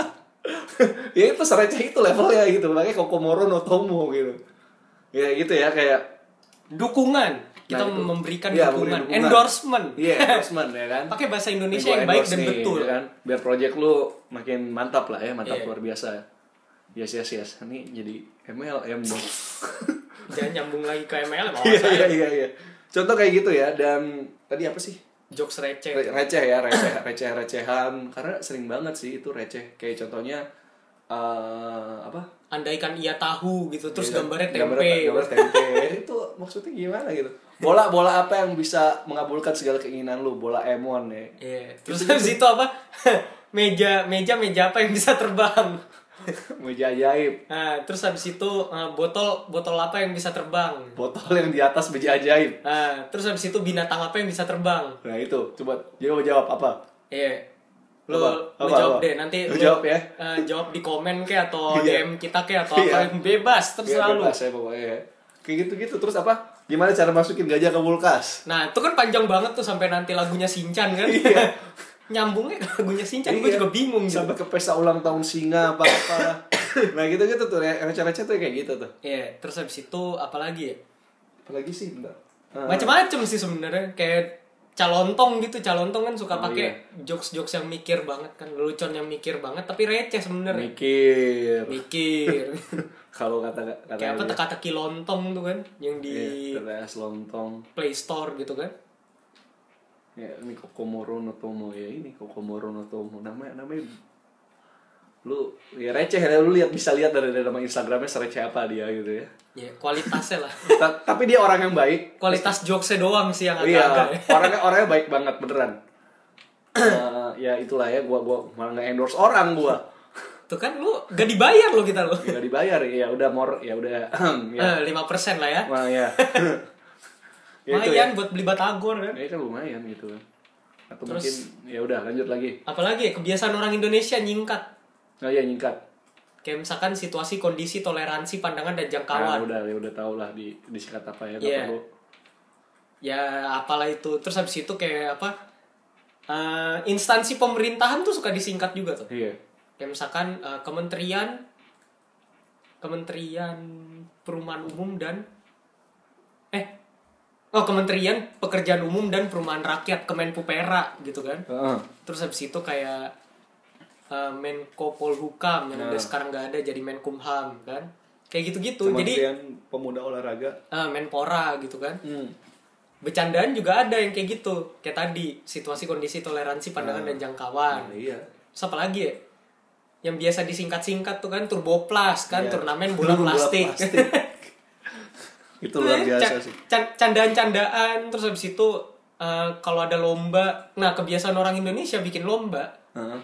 [SPEAKER 1] (laughs) ya itu sereceh itu levelnya gitu makanya Kokomoro Notomo gitu ya gitu ya kayak
[SPEAKER 2] dukungan kita
[SPEAKER 1] Nah, itu.
[SPEAKER 2] memberikan
[SPEAKER 1] Iya,
[SPEAKER 2] dukungan,
[SPEAKER 1] memberi dukungan.
[SPEAKER 2] endorsement (laughs)
[SPEAKER 1] Iya, endorsement ya kan.
[SPEAKER 2] pakai bahasa Indonesia
[SPEAKER 1] Nego
[SPEAKER 2] yang baik
[SPEAKER 1] endorse
[SPEAKER 2] dan
[SPEAKER 1] nih,
[SPEAKER 2] betul
[SPEAKER 1] ya kan? Biar project lu makin mantap lah ya, mantap
[SPEAKER 2] Iya.
[SPEAKER 1] luar biasa. Yes, yes, yes. Ini jadi MLM dong.
[SPEAKER 2] (laughs) jangan nyambung lagi ke
[SPEAKER 1] (laughs)
[SPEAKER 2] ML mau
[SPEAKER 1] Iya,
[SPEAKER 2] saya
[SPEAKER 1] iya, iya, iya. Contoh kayak gitu ya dan tadi apa sih?
[SPEAKER 2] jokes receh
[SPEAKER 1] Re- receh ya receh (coughs) receh recehan karena sering banget sih itu receh kayak contohnya eh apa
[SPEAKER 2] andaikan ia tahu gitu terus
[SPEAKER 1] Iya,
[SPEAKER 2] gambarnya
[SPEAKER 1] gambar-
[SPEAKER 2] tempe
[SPEAKER 1] gambar tempe (laughs) itu maksudnya gimana gitu bola bola apa yang bisa mengabulkan segala keinginan lu bola emon ya (laughs)
[SPEAKER 2] Iya. terus habis itu apa (laughs) meja meja meja apa yang bisa
[SPEAKER 1] (laughs)
[SPEAKER 2] terbang
[SPEAKER 1] meja ajaib
[SPEAKER 2] nah terus habis itu eh, botol botol apa yang bisa terbang
[SPEAKER 1] botol yang di atas meja ajaib
[SPEAKER 2] nah terus habis itu binatang apa yang bisa terbang
[SPEAKER 1] nah itu coba jawab jawab apa
[SPEAKER 2] Iya. Lu,
[SPEAKER 1] Apa?
[SPEAKER 2] lu
[SPEAKER 1] Apa?
[SPEAKER 2] jawab
[SPEAKER 1] Apa?
[SPEAKER 2] deh nanti
[SPEAKER 1] Lu jawab ya.
[SPEAKER 2] eh, jawab di komen ke atau
[SPEAKER 1] (laughs) Iya.
[SPEAKER 2] DM kita ke atau apa
[SPEAKER 1] Iya.
[SPEAKER 2] yang bebas terus
[SPEAKER 1] Biar
[SPEAKER 2] selalu.
[SPEAKER 1] bebas ya pokoknya ya. kayak gitu gitu terus apa gimana cara masukin gajah ke kulkas
[SPEAKER 2] Nah, itu kan panjang banget tuh sampai nanti lagunya Sinchan kan.
[SPEAKER 1] Iya.
[SPEAKER 2] (laughs) Nyambungnya ke lagunya Sinchan gue
[SPEAKER 1] Iya.
[SPEAKER 2] juga bingung gitu.
[SPEAKER 1] sampai ke pesta ulang tahun singa apa apa
[SPEAKER 2] (coughs)
[SPEAKER 1] nah gitu gitu tuh ya, receh-receh tuh kayak gitu tuh
[SPEAKER 2] Iya, terus habis itu apalagi ya?
[SPEAKER 1] apalagi sih bentar Eh,
[SPEAKER 2] Macam-macam sih sebenarnya kayak calontong gitu calontong kan suka
[SPEAKER 1] Oh,
[SPEAKER 2] pakai
[SPEAKER 1] iya.
[SPEAKER 2] jokes-jokes yang mikir banget kan lelucon yang mikir banget tapi receh sebenarnya
[SPEAKER 1] mikir (coughs)
[SPEAKER 2] mikir (laughs)
[SPEAKER 1] kalau kata kata
[SPEAKER 2] kayak apa
[SPEAKER 1] dia.
[SPEAKER 2] teka-teki lontong tuh kan yang di
[SPEAKER 1] Iya, TTS lontong
[SPEAKER 2] Play Store gitu kan
[SPEAKER 1] ya ini kokomoro no tomo ya ini kokomoro no tomo namanya namanya lu ya receh ya lu lihat bisa lihat dari, dari nama instagramnya sereceh apa dia gitu ya
[SPEAKER 2] ya kualitasnya
[SPEAKER 1] (laughs)
[SPEAKER 2] lah
[SPEAKER 1] Ta- tapi dia orang yang baik
[SPEAKER 2] kualitas jokesnya doang sih yang
[SPEAKER 1] Iya,
[SPEAKER 2] agak-agak ya.
[SPEAKER 1] orangnya orangnya baik banget beneran. Eh, ya itulah ya, gua gua malah nggak endorse orang gua.
[SPEAKER 2] tuh kan lu gak dibayar lo kita lo
[SPEAKER 1] Gak dibayar ya, udah more ya udah (clears throat) ya.
[SPEAKER 2] lima persen lah ya
[SPEAKER 1] Wah,
[SPEAKER 2] (laughs)
[SPEAKER 1] ya. Ya, itu ya.
[SPEAKER 2] lumayan buat beli batagor kan
[SPEAKER 1] Ya, kan lumayan gitu kan. Atau
[SPEAKER 2] Terus-
[SPEAKER 1] mungkin ya udah lanjut lagi.
[SPEAKER 2] apalagi ya, kebiasaan orang Indonesia nyingkat
[SPEAKER 1] Oh iya nyingkat.
[SPEAKER 2] kayak misalkan situasi kondisi toleransi pandangan dan
[SPEAKER 1] Nah,
[SPEAKER 2] jangkauan
[SPEAKER 1] udah ya udah tau lah di disikat apa ya, nggak
[SPEAKER 2] Iya.
[SPEAKER 1] perlu.
[SPEAKER 2] ya apalah itu terus habis itu kayak apa eh, instansi pemerintahan tuh suka disingkat juga tuh
[SPEAKER 1] Iya.
[SPEAKER 2] kayak misalkan eh, kementerian kementerian perumahan umum dan eh oh kementerian pekerjaan umum dan perumahan rakyat kemenpupera gitu kan
[SPEAKER 1] Heeh.
[SPEAKER 2] terus habis itu kayak eh, menko polhukam
[SPEAKER 1] Nah.
[SPEAKER 2] yang udah sekarang nggak ada jadi menkumham kan kayak gitu-gitu jadi
[SPEAKER 1] Kementerian pemuda olahraga.
[SPEAKER 2] eh, menpora gitu kan
[SPEAKER 1] Hmm.
[SPEAKER 2] bercandaan juga ada yang kayak gitu kayak tadi situasi kondisi toleransi pandangan dan jangkauan
[SPEAKER 1] Nah, iya.
[SPEAKER 2] Terus apa lagi ya? Yang biasa disingkat-singkat tuh kan turboplas kan
[SPEAKER 1] Iya. (laughs)
[SPEAKER 2] turnamen bola plastik. (laughs)
[SPEAKER 1] itu luar biasa
[SPEAKER 2] Ca-
[SPEAKER 1] sih.
[SPEAKER 2] ca- Candaan-candaan terus habis itu eh, kalau ada lomba, nah kebiasaan orang Indonesia bikin lomba
[SPEAKER 1] Heeh.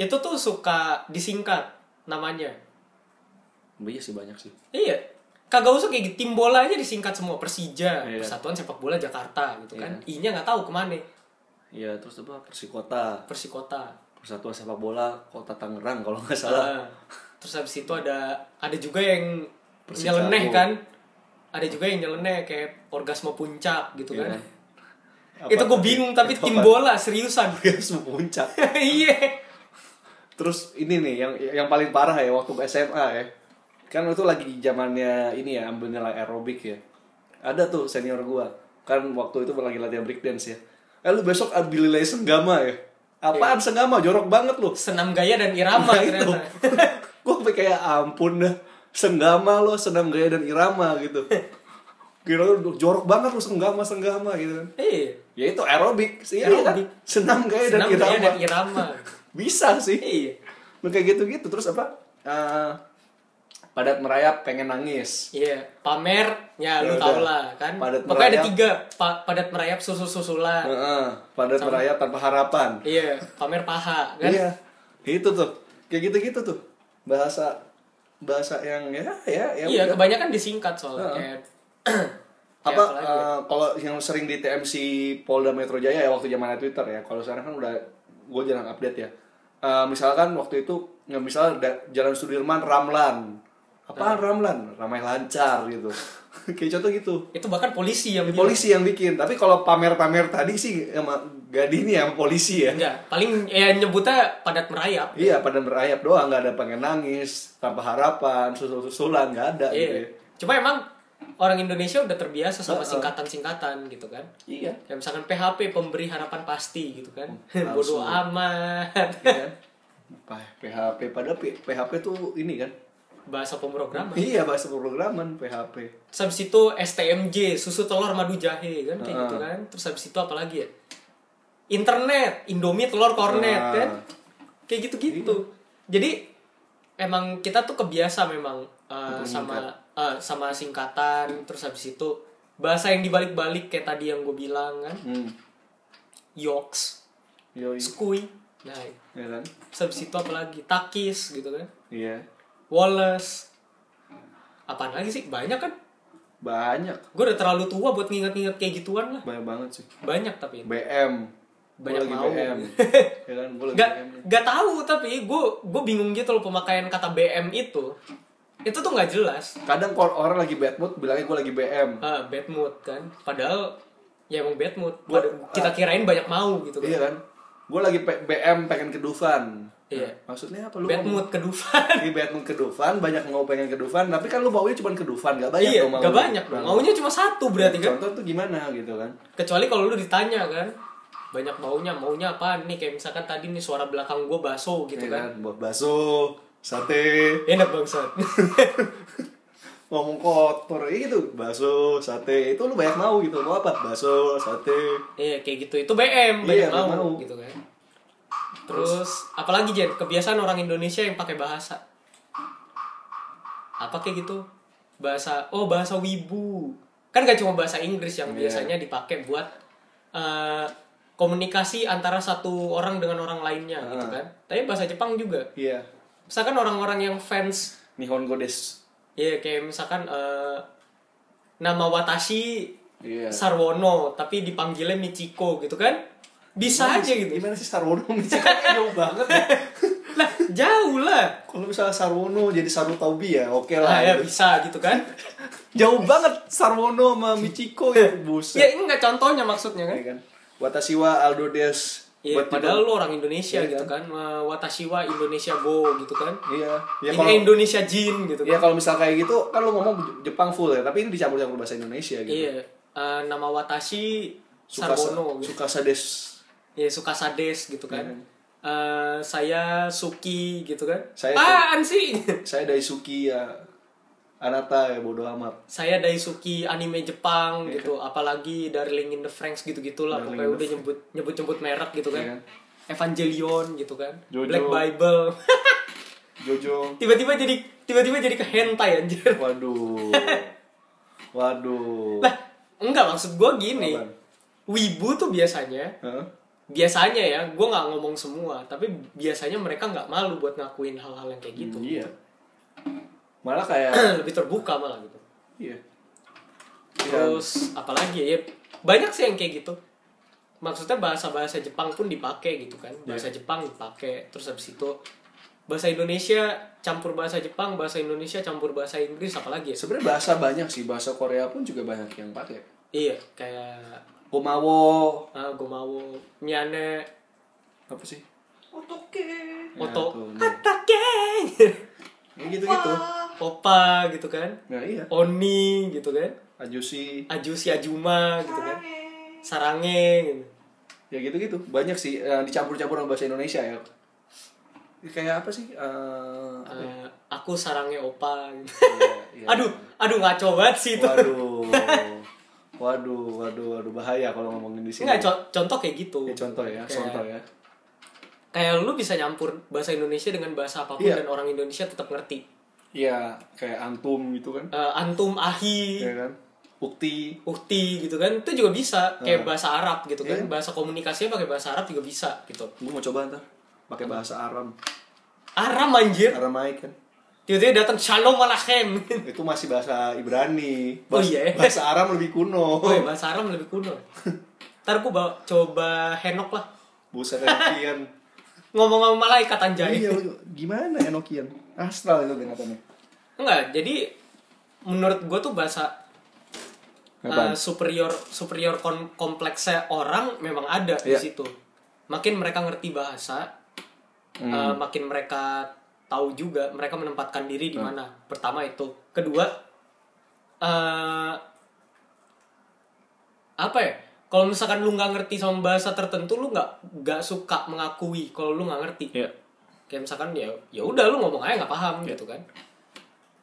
[SPEAKER 2] itu tuh suka disingkat namanya.
[SPEAKER 1] Iya sih banyak sih.
[SPEAKER 2] Iya. Kagak usah kayak gitu, tim bola aja disingkat semua Persija,
[SPEAKER 1] Iya.
[SPEAKER 2] Persatuan Sepak Bola Jakarta gitu kan. I-nya nggak tahu kemana
[SPEAKER 1] Iya, terus apa? Persikota,
[SPEAKER 2] Persikota.
[SPEAKER 1] Persatuan Sepak Bola Kota Tangerang kalau nggak salah.
[SPEAKER 2] Ah. terus habis itu ada ada juga yang
[SPEAKER 1] Persikabo.
[SPEAKER 2] nyeleneh kan. Ada juga yang nyeleneh kayak orgasme puncak gitu
[SPEAKER 1] Iya
[SPEAKER 2] kan.
[SPEAKER 1] kan?
[SPEAKER 2] Ah. itu gue bingung
[SPEAKER 1] (laughs)
[SPEAKER 2] tapi tim bola seriusan. (laughs)
[SPEAKER 1] Terus puncak.
[SPEAKER 2] Iya.
[SPEAKER 1] Terus ini nih yang yang paling parah ya waktu ke SMA ya. Kan itu lagi zamannya ini ya ambil nilai aerobik ya. Ada tuh senior gua. Kan waktu itu lagi latihan break dance ya. Eh lu besok ambil nilai senggama ya. Apaan
[SPEAKER 2] Iya.
[SPEAKER 1] senggama? Jorok banget lu.
[SPEAKER 2] Senam gaya dan irama
[SPEAKER 1] Nah, itu. (laughs)
[SPEAKER 2] ternyata.
[SPEAKER 1] gue sampai kayak ampun dah. Senggama lo, senam gaya dan irama gitu. Kira lu jorok banget lu senggama senggama gitu kan.
[SPEAKER 2] Iya.
[SPEAKER 1] Ya itu aerobik sih kan.
[SPEAKER 2] Aerobik.
[SPEAKER 1] Senam gaya
[SPEAKER 2] Senam
[SPEAKER 1] dan
[SPEAKER 2] gaya
[SPEAKER 1] irama.
[SPEAKER 2] dan irama.
[SPEAKER 1] Bisa sih.
[SPEAKER 2] Iya.
[SPEAKER 1] Lu kayak gitu-gitu terus apa? Eh, padat merayap pengen nangis.
[SPEAKER 2] Iya, pamer ya,
[SPEAKER 1] Ya udah.
[SPEAKER 2] lu tau lah kan.
[SPEAKER 1] Padat
[SPEAKER 2] Pokoknya ada
[SPEAKER 1] merayap.
[SPEAKER 2] tiga, Pa- padat merayap susul-susulan.
[SPEAKER 1] Heeh, padat merayap tanpa harapan.
[SPEAKER 2] Iya, pamer paha kan.
[SPEAKER 1] Nah. Iya. Itu tuh. Kayak gitu-gitu tuh. Bahasa bahasa yang ya ya ya.
[SPEAKER 2] Iya,
[SPEAKER 1] udah.
[SPEAKER 2] kebanyakan disingkat soalnya
[SPEAKER 1] Heeh.
[SPEAKER 2] kayak kayak
[SPEAKER 1] apa
[SPEAKER 2] apalagi ya?
[SPEAKER 1] eh, kalau yang sering di TMC Polda Metro Jaya ya waktu zamannya Twitter ya kalau sekarang kan udah gue jarang update ya Eh, misalkan waktu itu ya misalnya da- Jalan Sudirman Ramlan
[SPEAKER 2] Nah.
[SPEAKER 1] apaan Ramlan ramai lancar gitu
[SPEAKER 2] (laughs)
[SPEAKER 1] kayak contoh gitu
[SPEAKER 2] itu bahkan polisi yang bilang.
[SPEAKER 1] polisi yang bikin tapi kalau pamer-pamer tadi sih sama gadini ya sama polisi ya
[SPEAKER 2] Enggak, paling ya nyebutnya padat merayap.
[SPEAKER 1] iya pada merayap doang nggak ada pengen nangis tanpa harapan susul-susulan nggak ada gitu
[SPEAKER 2] Iya.
[SPEAKER 1] ya.
[SPEAKER 2] Cuma emang orang Indonesia udah terbiasa sama
[SPEAKER 1] Heeh.
[SPEAKER 2] singkatan-singkatan gitu kan
[SPEAKER 1] Iya.
[SPEAKER 2] kayak misalkan PHP pemberi harapan pasti gitu kan
[SPEAKER 1] Hmm,
[SPEAKER 2] (laughs) bodoh
[SPEAKER 1] palsu.
[SPEAKER 2] amat
[SPEAKER 1] Iya kan? Pa- PHP pada PHP tuh ini kan.
[SPEAKER 2] bahasa pemrograman
[SPEAKER 1] Iya bahasa pemrograman PHP.
[SPEAKER 2] terus habis itu STMJ susu telur madu jahe kan kayak
[SPEAKER 1] Heeh.
[SPEAKER 2] gitu kan terus habis itu apa lagi ya internet Indomie telur kornet
[SPEAKER 1] Ah. Iya.
[SPEAKER 2] kan kayak gitu-gitu jadi emang kita tuh kebiasa memang uh,
[SPEAKER 1] Untuk
[SPEAKER 2] sama uh, sama singkatan terus habis itu bahasa yang dibalik-balik kayak tadi yang gue bilang kan
[SPEAKER 1] Hmm.
[SPEAKER 2] yoks
[SPEAKER 1] Yoi.
[SPEAKER 2] skui nah
[SPEAKER 1] Ya kan?
[SPEAKER 2] terus habis itu apa lagi takis gitu kan
[SPEAKER 1] Iya.
[SPEAKER 2] Wallace apaan lagi sih banyak kan
[SPEAKER 1] Banyak.
[SPEAKER 2] gue udah terlalu tua buat nginget-nginget kayak gituan lah
[SPEAKER 1] Banyak banget sih.
[SPEAKER 2] banyak tapi
[SPEAKER 1] BM. Gua
[SPEAKER 2] Banyak
[SPEAKER 1] lagi
[SPEAKER 2] mau. (laughs)
[SPEAKER 1] BM. ya kan? Gua lagi
[SPEAKER 2] nggak
[SPEAKER 1] BM.
[SPEAKER 2] nggak tahu tapi gue gue bingung gitu loh pemakaian kata BM itu itu tuh nggak jelas
[SPEAKER 1] Kadang kalau orang lagi bad mood bilangnya gue lagi BM.
[SPEAKER 2] ah bad mood kan padahal ya emang bad mood
[SPEAKER 1] Gua-
[SPEAKER 2] Pada- kita kirain banyak mau gitu kan
[SPEAKER 1] Iya kan? Gue lagi pe- BM pengen kedufan.
[SPEAKER 2] Iya.
[SPEAKER 1] Nah, Maksudnya apa lu?
[SPEAKER 2] bad
[SPEAKER 1] ngomong-
[SPEAKER 2] mood ke Dufan
[SPEAKER 1] Lagi bad mood kedufan, banyak mau pengen kedufan, tapi kan lu maunya cuma kedufan, gak (laughs) banyak
[SPEAKER 2] iya
[SPEAKER 1] dong
[SPEAKER 2] nggak banyak dong maunya cuma satu berarti kan
[SPEAKER 1] Contoh tuh gimana gitu kan?
[SPEAKER 2] kecuali kalau lu ditanya kan banyak maunya maunya apa nih kayak misalkan tadi nih suara belakang gue baso gitu
[SPEAKER 1] Iya
[SPEAKER 2] kan
[SPEAKER 1] kan? Buat bakso, sate,
[SPEAKER 2] enak bangsat (laughs)
[SPEAKER 1] ngomong kotor ya gitu bakso sate itu lu banyak mau gitu mau apa bakso sate
[SPEAKER 2] iya kayak gitu itu BM banyak
[SPEAKER 1] Iya,
[SPEAKER 2] mau,
[SPEAKER 1] banyak mau.
[SPEAKER 2] gitu kan terus apalagi Jen kebiasaan orang Indonesia yang pakai bahasa apa kayak gitu bahasa oh bahasa wibu kan gak cuma bahasa Inggris yang
[SPEAKER 1] Iya.
[SPEAKER 2] biasanya dipakai buat eh, komunikasi antara satu orang dengan orang lainnya
[SPEAKER 1] Ah.
[SPEAKER 2] gitu kan tapi bahasa Jepang juga
[SPEAKER 1] iya
[SPEAKER 2] misalkan orang-orang yang fans
[SPEAKER 1] nihon godes
[SPEAKER 2] ya kayak misalkan eh, nama Watashi
[SPEAKER 1] iya
[SPEAKER 2] Sarwono tapi dipanggilnya Michiko gitu kan bisa
[SPEAKER 1] Iya,
[SPEAKER 2] aja gitu
[SPEAKER 1] gimana sih Sarwono (laughs) Michiko kayak jauh banget ya.
[SPEAKER 2] lah jauh lah
[SPEAKER 1] kalau misalnya Sarwono jadi Saru Taubi ya oke
[SPEAKER 2] ah,
[SPEAKER 1] lah
[SPEAKER 2] ya
[SPEAKER 1] gitu.
[SPEAKER 2] bisa gitu
[SPEAKER 1] (laughs)
[SPEAKER 2] kan
[SPEAKER 1] jauh banget Sarwono sama Michiko ya
[SPEAKER 2] ya
[SPEAKER 1] (laughs) buset
[SPEAKER 2] ini nggak contohnya maksudnya kan
[SPEAKER 1] Iya kan Watashi wa Aldo Des
[SPEAKER 2] ya,
[SPEAKER 1] Buat
[SPEAKER 2] padahal
[SPEAKER 1] itu-
[SPEAKER 2] lu orang Indonesia
[SPEAKER 1] Iya
[SPEAKER 2] gitu kan Eh, Watashi wa Indonesia go gitu kan
[SPEAKER 1] iya ya
[SPEAKER 2] ini
[SPEAKER 1] kalau
[SPEAKER 2] Indonesia Jin gitu
[SPEAKER 1] ya
[SPEAKER 2] kan
[SPEAKER 1] kalau misal kayak gitu kan lu ngomong Jepang full ya tapi ini dicampur-campur bahasa Indonesia gitu
[SPEAKER 2] iya Eh, nama Watashi
[SPEAKER 1] suka
[SPEAKER 2] Sarwono gitu
[SPEAKER 1] suka sades
[SPEAKER 2] ya suka sades gitu kan
[SPEAKER 1] Iya.
[SPEAKER 2] Eh, saya Suki gitu kan
[SPEAKER 1] Saya-
[SPEAKER 2] apaan sih
[SPEAKER 1] saya Daisuki ya Anata ya bodo amat
[SPEAKER 2] saya Daisuki anime Jepang gitu apalagi Darling in the Franks gitu gitulah
[SPEAKER 1] Iya kan? Darling
[SPEAKER 2] pokoknya
[SPEAKER 1] in the
[SPEAKER 2] udah nyebut nyebut nyebut merek gitu kan
[SPEAKER 1] Iya.
[SPEAKER 2] Evangelion gitu kan
[SPEAKER 1] Jojo.
[SPEAKER 2] Black Bible (laughs)
[SPEAKER 1] Jojo
[SPEAKER 2] tiba-tiba jadi tiba-tiba jadi ke hentai anjir (laughs)
[SPEAKER 1] waduh waduh
[SPEAKER 2] lah enggak maksud gue gini
[SPEAKER 1] Apaan?
[SPEAKER 2] wibu tuh biasanya
[SPEAKER 1] Hah?
[SPEAKER 2] biasanya ya gue nggak ngomong semua tapi biasanya mereka nggak malu buat ngakuin hal-hal yang kayak gitu
[SPEAKER 1] Hmm, iya malah kayak
[SPEAKER 2] (clears throat) lebih terbuka malah gitu
[SPEAKER 1] iya
[SPEAKER 2] Terus apalagi ya, ya banyak sih yang kayak gitu. Maksudnya bahasa-bahasa Jepang pun dipakai gitu kan.
[SPEAKER 1] Iya.
[SPEAKER 2] Bahasa Jepang dipakai terus habis itu bahasa Indonesia campur bahasa Jepang, bahasa Indonesia campur bahasa Inggris apalagi ya?
[SPEAKER 1] sebenarnya bahasa banyak sih bahasa Korea pun juga banyak yang pakai
[SPEAKER 2] Iya, kayak
[SPEAKER 1] Komawo
[SPEAKER 2] ah, gomawo, miane,
[SPEAKER 1] apa sih
[SPEAKER 3] Otoke.
[SPEAKER 2] oto,
[SPEAKER 1] Iya, tuh, nih.
[SPEAKER 2] hatake,
[SPEAKER 1] ya gitu gitu
[SPEAKER 3] Wah.
[SPEAKER 2] (laughs) opa gitu kan.
[SPEAKER 1] nah iya
[SPEAKER 2] Oni gitu kan.
[SPEAKER 1] ajusi
[SPEAKER 2] Ajusi Ajuma gitu kan.
[SPEAKER 3] Sarange.
[SPEAKER 2] Sarange gitu.
[SPEAKER 1] ya gitu gitu banyak sih eh, dicampur-campur sama bahasa Indonesia ya kayak apa sih Eh, apa ya?
[SPEAKER 2] Eh, aku sarange opa gitu.
[SPEAKER 1] Iya, iya.
[SPEAKER 2] aduh, aduh ngaco banget sih itu.
[SPEAKER 1] Waduh. Waduh, waduh, waduh bahaya kalau ngomongin di sini.
[SPEAKER 2] Enggak, co- contoh kayak gitu.
[SPEAKER 1] Ya, contoh ya,
[SPEAKER 2] Kayak-
[SPEAKER 1] contoh ya.
[SPEAKER 2] Kayak lu bisa nyampur bahasa Indonesia dengan bahasa apapun
[SPEAKER 1] Iya.
[SPEAKER 2] dan orang Indonesia tetap ngerti.
[SPEAKER 1] Iya, kayak antum gitu kan.
[SPEAKER 2] Eh, antum, ahi,
[SPEAKER 1] Ya kan? Ukti.
[SPEAKER 2] uhti gitu kan. Itu juga bisa
[SPEAKER 1] Ah.
[SPEAKER 2] kayak bahasa Arab gitu kan.
[SPEAKER 1] Iya.
[SPEAKER 2] Bahasa komunikasinya pakai bahasa Arab juga bisa gitu.
[SPEAKER 1] Gue mau coba ntar pakai bahasa Aram.
[SPEAKER 2] Aram anjir.
[SPEAKER 1] Aramaik kan.
[SPEAKER 2] Tiba-tiba datang Shalom
[SPEAKER 1] (laughs)
[SPEAKER 2] Alaikum.
[SPEAKER 1] Itu masih bahasa Ibrani.
[SPEAKER 2] Oh,
[SPEAKER 1] Bahasa,
[SPEAKER 2] iya ya?
[SPEAKER 1] bahasa Aram lebih kuno.
[SPEAKER 2] Woi, bahasa Aram lebih
[SPEAKER 1] (laughs)
[SPEAKER 2] kuno. Ntar ku bawa, coba henok lah.
[SPEAKER 1] Buset Enokian.
[SPEAKER 2] Ngomong sama malaikat
[SPEAKER 1] (laughs)
[SPEAKER 2] anjay.
[SPEAKER 1] iya, lu- gimana Enokian? Astral itu binatangnya.
[SPEAKER 2] Enggak, jadi menurut gue tuh bahasa
[SPEAKER 1] Apaan?
[SPEAKER 2] eh, superior superior kon- kompleksnya orang memang ada di
[SPEAKER 1] Iya.
[SPEAKER 2] situ. Makin mereka ngerti bahasa, eh,
[SPEAKER 1] Hmm.
[SPEAKER 2] makin
[SPEAKER 1] Hmm.
[SPEAKER 2] mereka tahu juga mereka menempatkan diri di mana. Pertama itu, kedua eh apa ya kalau misalkan lu nggak ngerti sama bahasa tertentu lu nggak nggak suka mengakui kalau lu nggak ngerti
[SPEAKER 1] Iya.
[SPEAKER 2] kayak misalkan ya ya udah lu ngomong aja nggak paham gitu kan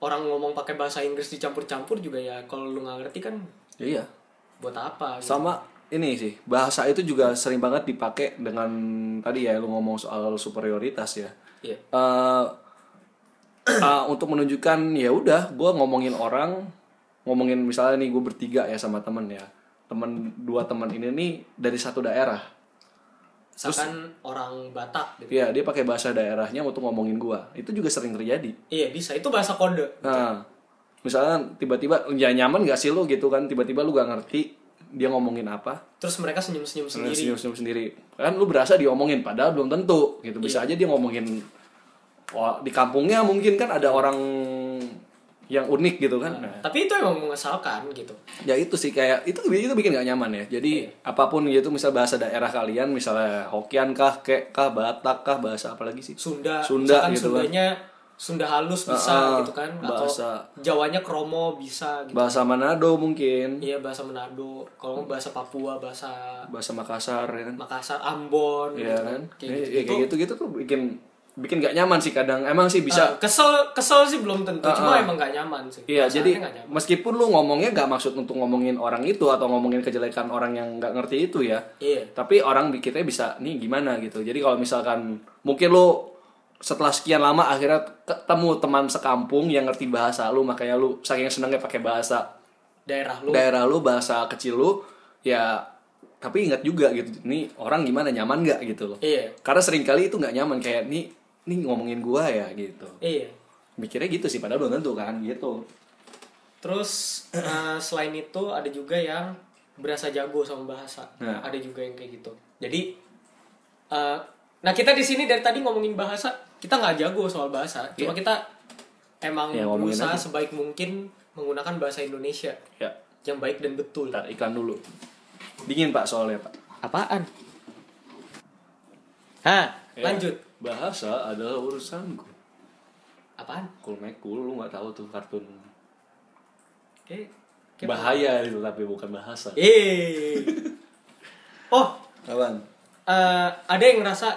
[SPEAKER 2] orang ngomong pakai bahasa Inggris dicampur-campur juga ya kalau lu nggak ngerti kan
[SPEAKER 1] Iya.
[SPEAKER 2] buat apa gitu.
[SPEAKER 1] Sama ini sih, bahasa itu juga sering banget dipakai dengan tadi ya lu ngomong soal superioritas ya.
[SPEAKER 2] Iya.
[SPEAKER 1] Eh, eh, (clears throat) untuk menunjukkan ya udah gue ngomongin orang ngomongin misalnya nih gue bertiga ya sama temen ya temen dua temen ini nih dari satu daerah
[SPEAKER 2] misalkan orang Batak gitu
[SPEAKER 1] ya dia pakai bahasa daerahnya untuk ngomongin gue itu juga sering terjadi
[SPEAKER 2] iya bisa itu bahasa kode
[SPEAKER 1] nah misalnya tiba-tiba ya nyaman gak sih lo gitu kan tiba-tiba lu gak ngerti dia ngomongin apa
[SPEAKER 2] terus mereka senyum-senyum sendiri
[SPEAKER 1] senyum-senyum sendiri kan lu berasa diomongin padahal belum tentu gitu bisa
[SPEAKER 2] Iya.
[SPEAKER 1] aja dia ngomongin wah di kampungnya mungkin kan ada orang yang unik gitu kan Nah,
[SPEAKER 2] tapi itu emang mengesalkan gitu
[SPEAKER 1] ya itu sih kayak itu itu bikin gak nyaman ya jadi
[SPEAKER 2] Iya.
[SPEAKER 1] apapun gitu misal bahasa daerah kalian misalnya Hokian kah kek kah Batak kah bahasa apa lagi sih
[SPEAKER 2] Sunda,
[SPEAKER 1] Sunda
[SPEAKER 2] misalkan
[SPEAKER 1] gitu kan.
[SPEAKER 2] Sundanya Sunda halus bisa
[SPEAKER 1] Ah, ah,
[SPEAKER 2] gitu kan
[SPEAKER 1] bahasa.
[SPEAKER 2] atau Jawanya kromo bisa gitu.
[SPEAKER 1] bahasa Manado mungkin
[SPEAKER 2] Iya bahasa Manado, kalau nggak bahasa Papua, bahasa
[SPEAKER 1] bahasa Makassar ya kan
[SPEAKER 2] Makassar, Ambon
[SPEAKER 1] Iya
[SPEAKER 2] gitu
[SPEAKER 1] kan Ya,
[SPEAKER 2] Kayak gitu.
[SPEAKER 1] ya, kayak gitu gitu tuh bikin bikin gak nyaman sih kadang emang sih bisa Eh,
[SPEAKER 2] Ah, kesel kesel sih belum tentu, cuma emang nggak nyaman sih.
[SPEAKER 1] Iya,
[SPEAKER 2] Perasaannya
[SPEAKER 1] jadi
[SPEAKER 2] nggak nyaman.
[SPEAKER 1] meskipun lu ngomongnya gak maksud untuk ngomongin orang itu atau ngomongin kejelekan orang yang gak ngerti itu ya,
[SPEAKER 2] Iya.
[SPEAKER 1] tapi orang pikirnya bisa nih gimana gitu. Jadi kalau misalkan mungkin lu setelah sekian lama akhirnya ketemu teman sekampung yang ngerti bahasa lu, makanya lu saking senengnya pakai bahasa
[SPEAKER 2] Daerah lu
[SPEAKER 1] daerah lu, bahasa kecil lu, ya tapi ingat juga gitu, nih orang gimana nyaman gak gitu loh.
[SPEAKER 2] Iya.
[SPEAKER 1] Karena seringkali itu gak nyaman kayak nih nih ngomongin gua ya gitu.
[SPEAKER 2] Iya.
[SPEAKER 1] Mikirnya gitu sih padahal belum tentu kan gitu.
[SPEAKER 2] Terus eh, selain itu ada juga yang berasa jago sama bahasa.
[SPEAKER 1] Nah.
[SPEAKER 2] Ada juga yang kayak gitu. Jadi eh, nah kita di sini dari tadi ngomongin bahasa, kita nggak jago soal bahasa. Cuma kita emang
[SPEAKER 1] Iya. Ya, ngomongin
[SPEAKER 2] berusaha
[SPEAKER 1] aja.
[SPEAKER 2] sebaik mungkin menggunakan bahasa Indonesia
[SPEAKER 1] Ya.
[SPEAKER 2] yang baik dan betul.
[SPEAKER 1] Bentar, iklan dulu. Dingin pak soalnya pak.
[SPEAKER 2] Apaan? Hah,
[SPEAKER 1] Ya.
[SPEAKER 2] lanjut.
[SPEAKER 1] Bahasa adalah urusanku.
[SPEAKER 2] Apaan?
[SPEAKER 1] Kulmekul lu nggak tahu tuh kartun.
[SPEAKER 2] Eh, kayak-
[SPEAKER 1] Bahaya itu tapi bukan bahasa.
[SPEAKER 2] Eh. Oh,
[SPEAKER 1] Kawan.
[SPEAKER 2] eh ada yang ngerasa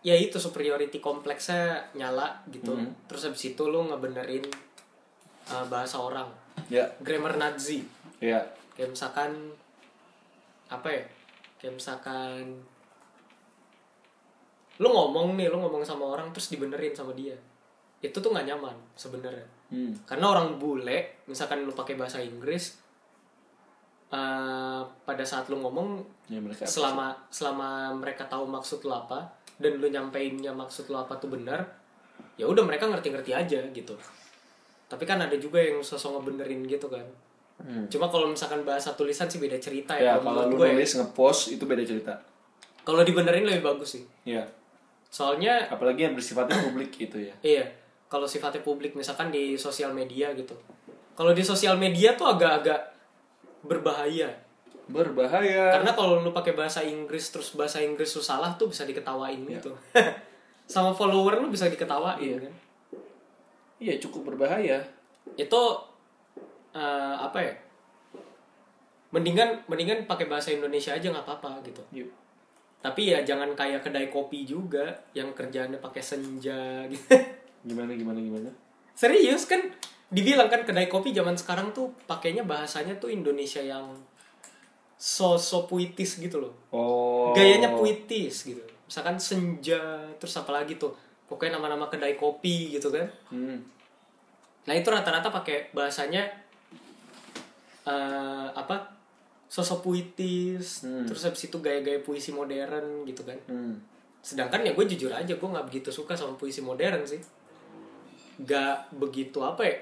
[SPEAKER 2] ya itu superiority kompleksnya nyala gitu
[SPEAKER 1] Mhm.
[SPEAKER 2] terus habis itu lu ngebenerin eh, bahasa orang
[SPEAKER 1] Ya.
[SPEAKER 2] grammar Nazi
[SPEAKER 1] Ya.
[SPEAKER 2] kayak misalkan apa ya kayak misalkan lu ngomong nih lu ngomong sama orang terus dibenerin sama dia itu tuh nggak nyaman sebenarnya
[SPEAKER 1] Hmm.
[SPEAKER 2] karena orang bule misalkan lu pakai bahasa Inggris eh pada saat lu ngomong
[SPEAKER 1] Ya mereka.
[SPEAKER 2] selama selama mereka tahu maksud lo apa dan lu nyampeinnya maksud lo apa tuh benar ya udah mereka ngerti-ngerti aja gitu tapi kan ada juga yang sosok ngebenerin gitu kan
[SPEAKER 1] Hmm.
[SPEAKER 2] cuma kalau misalkan bahasa tulisan sih beda cerita
[SPEAKER 1] Ya
[SPEAKER 2] ya,
[SPEAKER 1] kalau
[SPEAKER 2] menurut
[SPEAKER 1] lu
[SPEAKER 2] gue ya.
[SPEAKER 1] nulis ngepost itu beda cerita.
[SPEAKER 2] kalau dibenerin lebih bagus sih
[SPEAKER 1] Ya.
[SPEAKER 2] soalnya
[SPEAKER 1] Apalagi yang bersifatnya publik gitu ya.
[SPEAKER 2] iya kalau sifatnya publik misalkan di sosial media gitu kalau di sosial media tuh agak-agak berbahaya
[SPEAKER 1] Berbahaya.
[SPEAKER 2] karena kalau lu pakai bahasa Inggris terus bahasa Inggris lu salah tuh bisa diketawain gitu (laughs) sama follower lu bisa diketawain kan
[SPEAKER 1] Iya cukup berbahaya.
[SPEAKER 2] itu eh, apa ya mendingan mendingan pakai bahasa Indonesia aja nggak apa-apa gitu
[SPEAKER 1] Yuk.
[SPEAKER 2] tapi ya jangan kayak kedai kopi juga yang kerjaannya pakai senja (laughs) gitu
[SPEAKER 1] Gimana gimana gimana?
[SPEAKER 2] serius kan dibilang kan kedai kopi zaman sekarang tuh pakainya bahasanya tuh Indonesia yang so-so puitis gitu loh
[SPEAKER 1] Oh.
[SPEAKER 2] gayanya puitis gitu misalkan senja terus apa lagi tuh pokoknya nama-nama kedai kopi gitu kan
[SPEAKER 1] Hmm.
[SPEAKER 2] nah itu rata-rata pakai bahasanya eh apa sosok puitis
[SPEAKER 1] Hmm.
[SPEAKER 2] terus habis itu gaya-gaya puisi modern gitu kan
[SPEAKER 1] Hmm.
[SPEAKER 2] sedangkan ya gue jujur aja gue nggak begitu suka sama puisi modern sih nggak begitu apa ya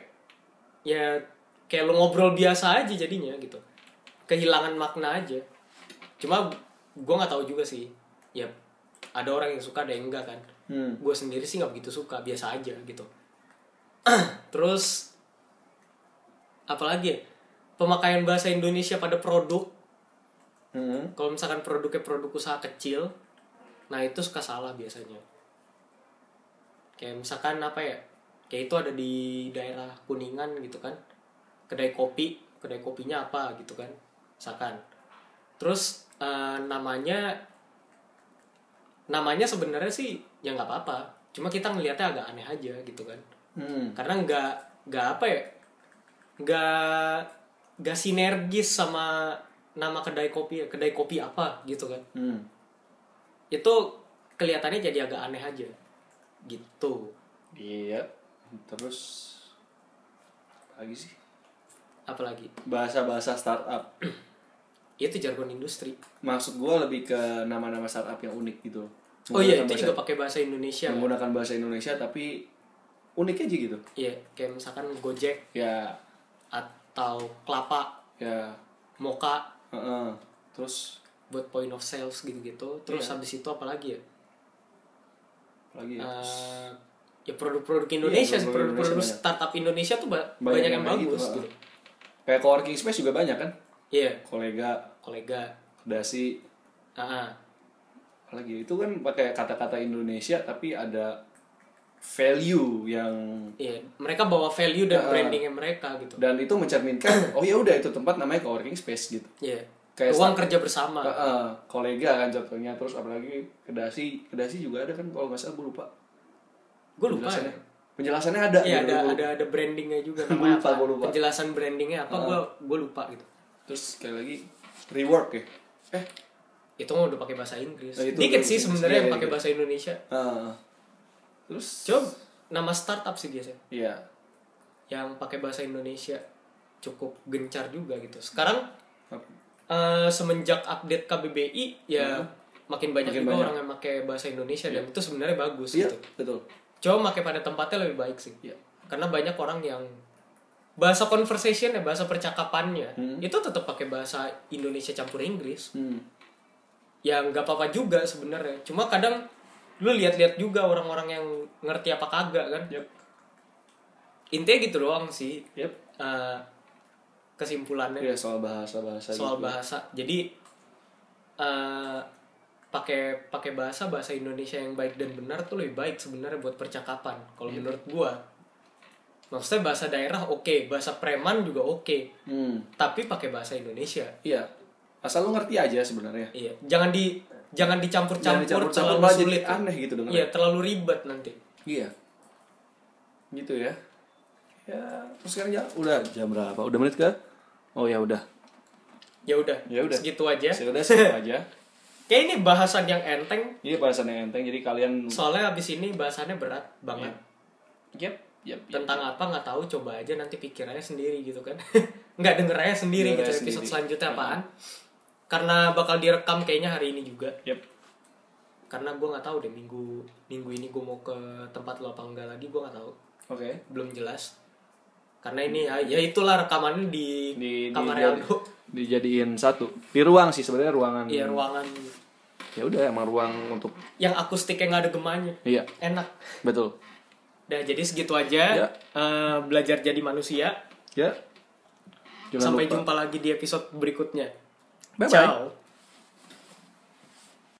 [SPEAKER 2] ya kayak lo ngobrol biasa aja jadinya gitu kehilangan makna aja cuma gue nggak tahu juga sih ya ada orang yang suka ada yang enggak kan
[SPEAKER 1] Hmm.
[SPEAKER 2] gue sendiri sih nggak begitu suka biasa aja gitu (clears throat) terus apalagi ya? pemakaian bahasa Indonesia pada produk
[SPEAKER 1] Hmm.
[SPEAKER 2] kalau misalkan produknya produk usaha kecil nah itu suka salah biasanya kayak misalkan apa ya kayak itu ada di daerah kuningan gitu kan kedai kopi kedai kopinya apa gitu kan misalkan terus eh, namanya namanya sebenarnya sih ya nggak apa-apa cuma kita ngelihatnya agak aneh aja gitu kan
[SPEAKER 1] Hmm.
[SPEAKER 2] karena nggak nggak apa ya nggak nggak sinergis sama nama kedai kopi ya kedai kopi apa gitu kan
[SPEAKER 1] Hmm.
[SPEAKER 2] itu kelihatannya jadi agak aneh aja gitu
[SPEAKER 1] Iya. Terus lagi sih
[SPEAKER 2] apalagi
[SPEAKER 1] bahasa-bahasa startup.
[SPEAKER 2] itu jargon industri
[SPEAKER 1] Maksud gua lebih ke nama-nama startup yang unik gitu.
[SPEAKER 2] oh
[SPEAKER 1] Menggunakan
[SPEAKER 2] iya itu
[SPEAKER 1] bahasa-
[SPEAKER 2] juga pakai bahasa Indonesia kan?
[SPEAKER 1] menggunakan bahasa Indonesia tapi unik aja gitu.
[SPEAKER 2] iya kayak misalkan gojek
[SPEAKER 1] Ya,
[SPEAKER 2] atau kelapa
[SPEAKER 1] ya.
[SPEAKER 2] moka
[SPEAKER 1] heeh. Terus
[SPEAKER 2] buat point of sales gitu-gitu terus
[SPEAKER 1] Iya.
[SPEAKER 2] habis itu apalagi ya
[SPEAKER 1] apa lagi ya?
[SPEAKER 2] Eh, ya produk-produk Indonesia
[SPEAKER 1] Iya,
[SPEAKER 2] sih,
[SPEAKER 1] produk-produk
[SPEAKER 2] produk-produk
[SPEAKER 1] Indonesia
[SPEAKER 2] startup Indonesia tuh ba-
[SPEAKER 1] Banyak
[SPEAKER 2] banyak,
[SPEAKER 1] yang
[SPEAKER 2] yang
[SPEAKER 1] kayak gitu,
[SPEAKER 2] bagus
[SPEAKER 1] ha.
[SPEAKER 2] gitu
[SPEAKER 1] Kayak coworking space juga banyak kan?
[SPEAKER 2] iya
[SPEAKER 1] Kolega,
[SPEAKER 2] kolega
[SPEAKER 1] dasi,
[SPEAKER 2] Ah, ah.
[SPEAKER 1] apalagi itu kan pakai kata-kata Indonesia tapi ada value yang
[SPEAKER 2] iya mereka bawa value dan
[SPEAKER 1] Ah.
[SPEAKER 2] brandingnya mereka gitu
[SPEAKER 1] dan itu mencerminkan oh ya udah itu tempat namanya coworking space gitu.
[SPEAKER 2] iya
[SPEAKER 1] Kayak Ah,
[SPEAKER 2] ruang
[SPEAKER 1] start-
[SPEAKER 2] kerja bersama
[SPEAKER 1] Heeh, kolega kan contohnya terus apalagi kedasi kedasi juga ada kan kalau nggak salah gue lupa
[SPEAKER 2] gue lupa ya
[SPEAKER 1] penjelasannya penjelasannya ada
[SPEAKER 2] Iya
[SPEAKER 1] gitu,
[SPEAKER 2] ada
[SPEAKER 1] gua lupa.
[SPEAKER 2] ada ada brandingnya juga
[SPEAKER 1] Gua
[SPEAKER 2] namanya
[SPEAKER 1] lupa,
[SPEAKER 2] apa?
[SPEAKER 1] gua lupa. Ah,
[SPEAKER 2] Penjelasan brandingnya apa? Gue gue lupa gitu.
[SPEAKER 1] terus sekali lagi rework ya eh
[SPEAKER 2] Itu mah udah pakai bahasa Inggris.
[SPEAKER 1] Nah, itu udah
[SPEAKER 2] Dikit sih
[SPEAKER 1] Inggris.
[SPEAKER 2] sebenarnya
[SPEAKER 1] Iya,
[SPEAKER 2] yang
[SPEAKER 1] iya,
[SPEAKER 2] pakai
[SPEAKER 1] iya.
[SPEAKER 2] bahasa Indonesia.
[SPEAKER 1] heeh. terus
[SPEAKER 2] Coba nama startup sih biasanya
[SPEAKER 1] iya
[SPEAKER 2] yang pakai bahasa Indonesia cukup gencar juga gitu. Sekarang
[SPEAKER 1] Apa?
[SPEAKER 2] eh, semenjak update KBBI ya makin banyak
[SPEAKER 1] Hmm. Makin
[SPEAKER 2] juga
[SPEAKER 1] banyak.
[SPEAKER 2] orang yang pakai bahasa Indonesia dan itu sebenarnya bagus
[SPEAKER 1] iya
[SPEAKER 2] gitu.
[SPEAKER 1] betul
[SPEAKER 2] Coba pakai pada tempatnya lebih baik sih.
[SPEAKER 1] Iya.
[SPEAKER 2] Karena banyak orang yang bahasa conversation ya bahasa percakapannya
[SPEAKER 1] Hmm.
[SPEAKER 2] itu tetap pakai bahasa Indonesia campur Inggris.
[SPEAKER 1] hmm.
[SPEAKER 2] ya nggak apa-apa juga sebenarnya cuma kadang lu lihat-lihat juga orang-orang yang ngerti apa kagak kan
[SPEAKER 1] yep
[SPEAKER 2] intinya gitu doang sih
[SPEAKER 1] yep
[SPEAKER 2] eh, kesimpulannya
[SPEAKER 1] iya soal gitu. bahasa bahasa
[SPEAKER 2] soal bahasa jadi eh, pakai pakai bahasa bahasa Indonesia yang baik dan benar tuh lebih baik sebenarnya buat percakapan kalau
[SPEAKER 1] Iya,
[SPEAKER 2] menurut gua maksudnya bahasa daerah oke bahasa preman juga oke
[SPEAKER 1] hmm
[SPEAKER 2] tapi pakai bahasa Indonesia
[SPEAKER 1] iya asal lu ngerti aja sebenarnya
[SPEAKER 2] iya jangan di jangan
[SPEAKER 1] Jangan
[SPEAKER 2] dicampur-campur
[SPEAKER 1] dicampur-campur,
[SPEAKER 2] terlalu
[SPEAKER 1] malah jadi
[SPEAKER 2] sulit
[SPEAKER 1] aneh gitu dengar
[SPEAKER 2] iya terlalu ribet nanti
[SPEAKER 1] Iya. Gitu ya. Ya, terus sekarang ya udah jam berapa? Udah menit ke? Oh ya udah.
[SPEAKER 2] Ya udah.
[SPEAKER 1] Ya udah.
[SPEAKER 2] Segitu aja.
[SPEAKER 1] Saya udah (laughs) siap aja.
[SPEAKER 2] Kayak ini bahasan yang enteng.
[SPEAKER 1] Ini bahasan yang enteng jadi kalian
[SPEAKER 2] Soalnya abis ini bahasannya berat
[SPEAKER 1] Iya.
[SPEAKER 2] banget.
[SPEAKER 1] yep, yep, yep.
[SPEAKER 2] Tentang apa nggak tahu. Coba aja nanti pikir aja sendiri gitu kan. (laughs) nggak denger aja sendiri
[SPEAKER 1] Denger
[SPEAKER 2] gitu
[SPEAKER 1] aja
[SPEAKER 2] episode
[SPEAKER 1] sendiri.
[SPEAKER 2] selanjutnya apaan. Karena bakal direkam kayaknya hari ini juga.
[SPEAKER 1] Yep.
[SPEAKER 2] Karena gue nggak tahu deh minggu minggu ini gue mau ke tempat lo apa enggak lagi gue nggak tahu.
[SPEAKER 1] Oke.
[SPEAKER 2] Belum jelas. Karena ini ya, ya itulah rekamannya di,
[SPEAKER 1] Di, di
[SPEAKER 2] kamar
[SPEAKER 1] jadi-
[SPEAKER 2] Aldo.
[SPEAKER 1] dijadiin satu di ruang sih sebenarnya ruangan
[SPEAKER 2] Iya ruangan
[SPEAKER 1] ya udah emang ruang untuk
[SPEAKER 2] yang akustiknya nggak ada gemanya.
[SPEAKER 1] iya
[SPEAKER 2] Enak.
[SPEAKER 1] betul
[SPEAKER 2] Udah jadi segitu aja
[SPEAKER 1] Ya.
[SPEAKER 2] Eh, belajar jadi manusia.
[SPEAKER 1] ya Jangan
[SPEAKER 2] Sampai
[SPEAKER 1] lupa.
[SPEAKER 2] jumpa lagi di episode berikutnya.
[SPEAKER 1] Bye-bye.
[SPEAKER 2] Ciao.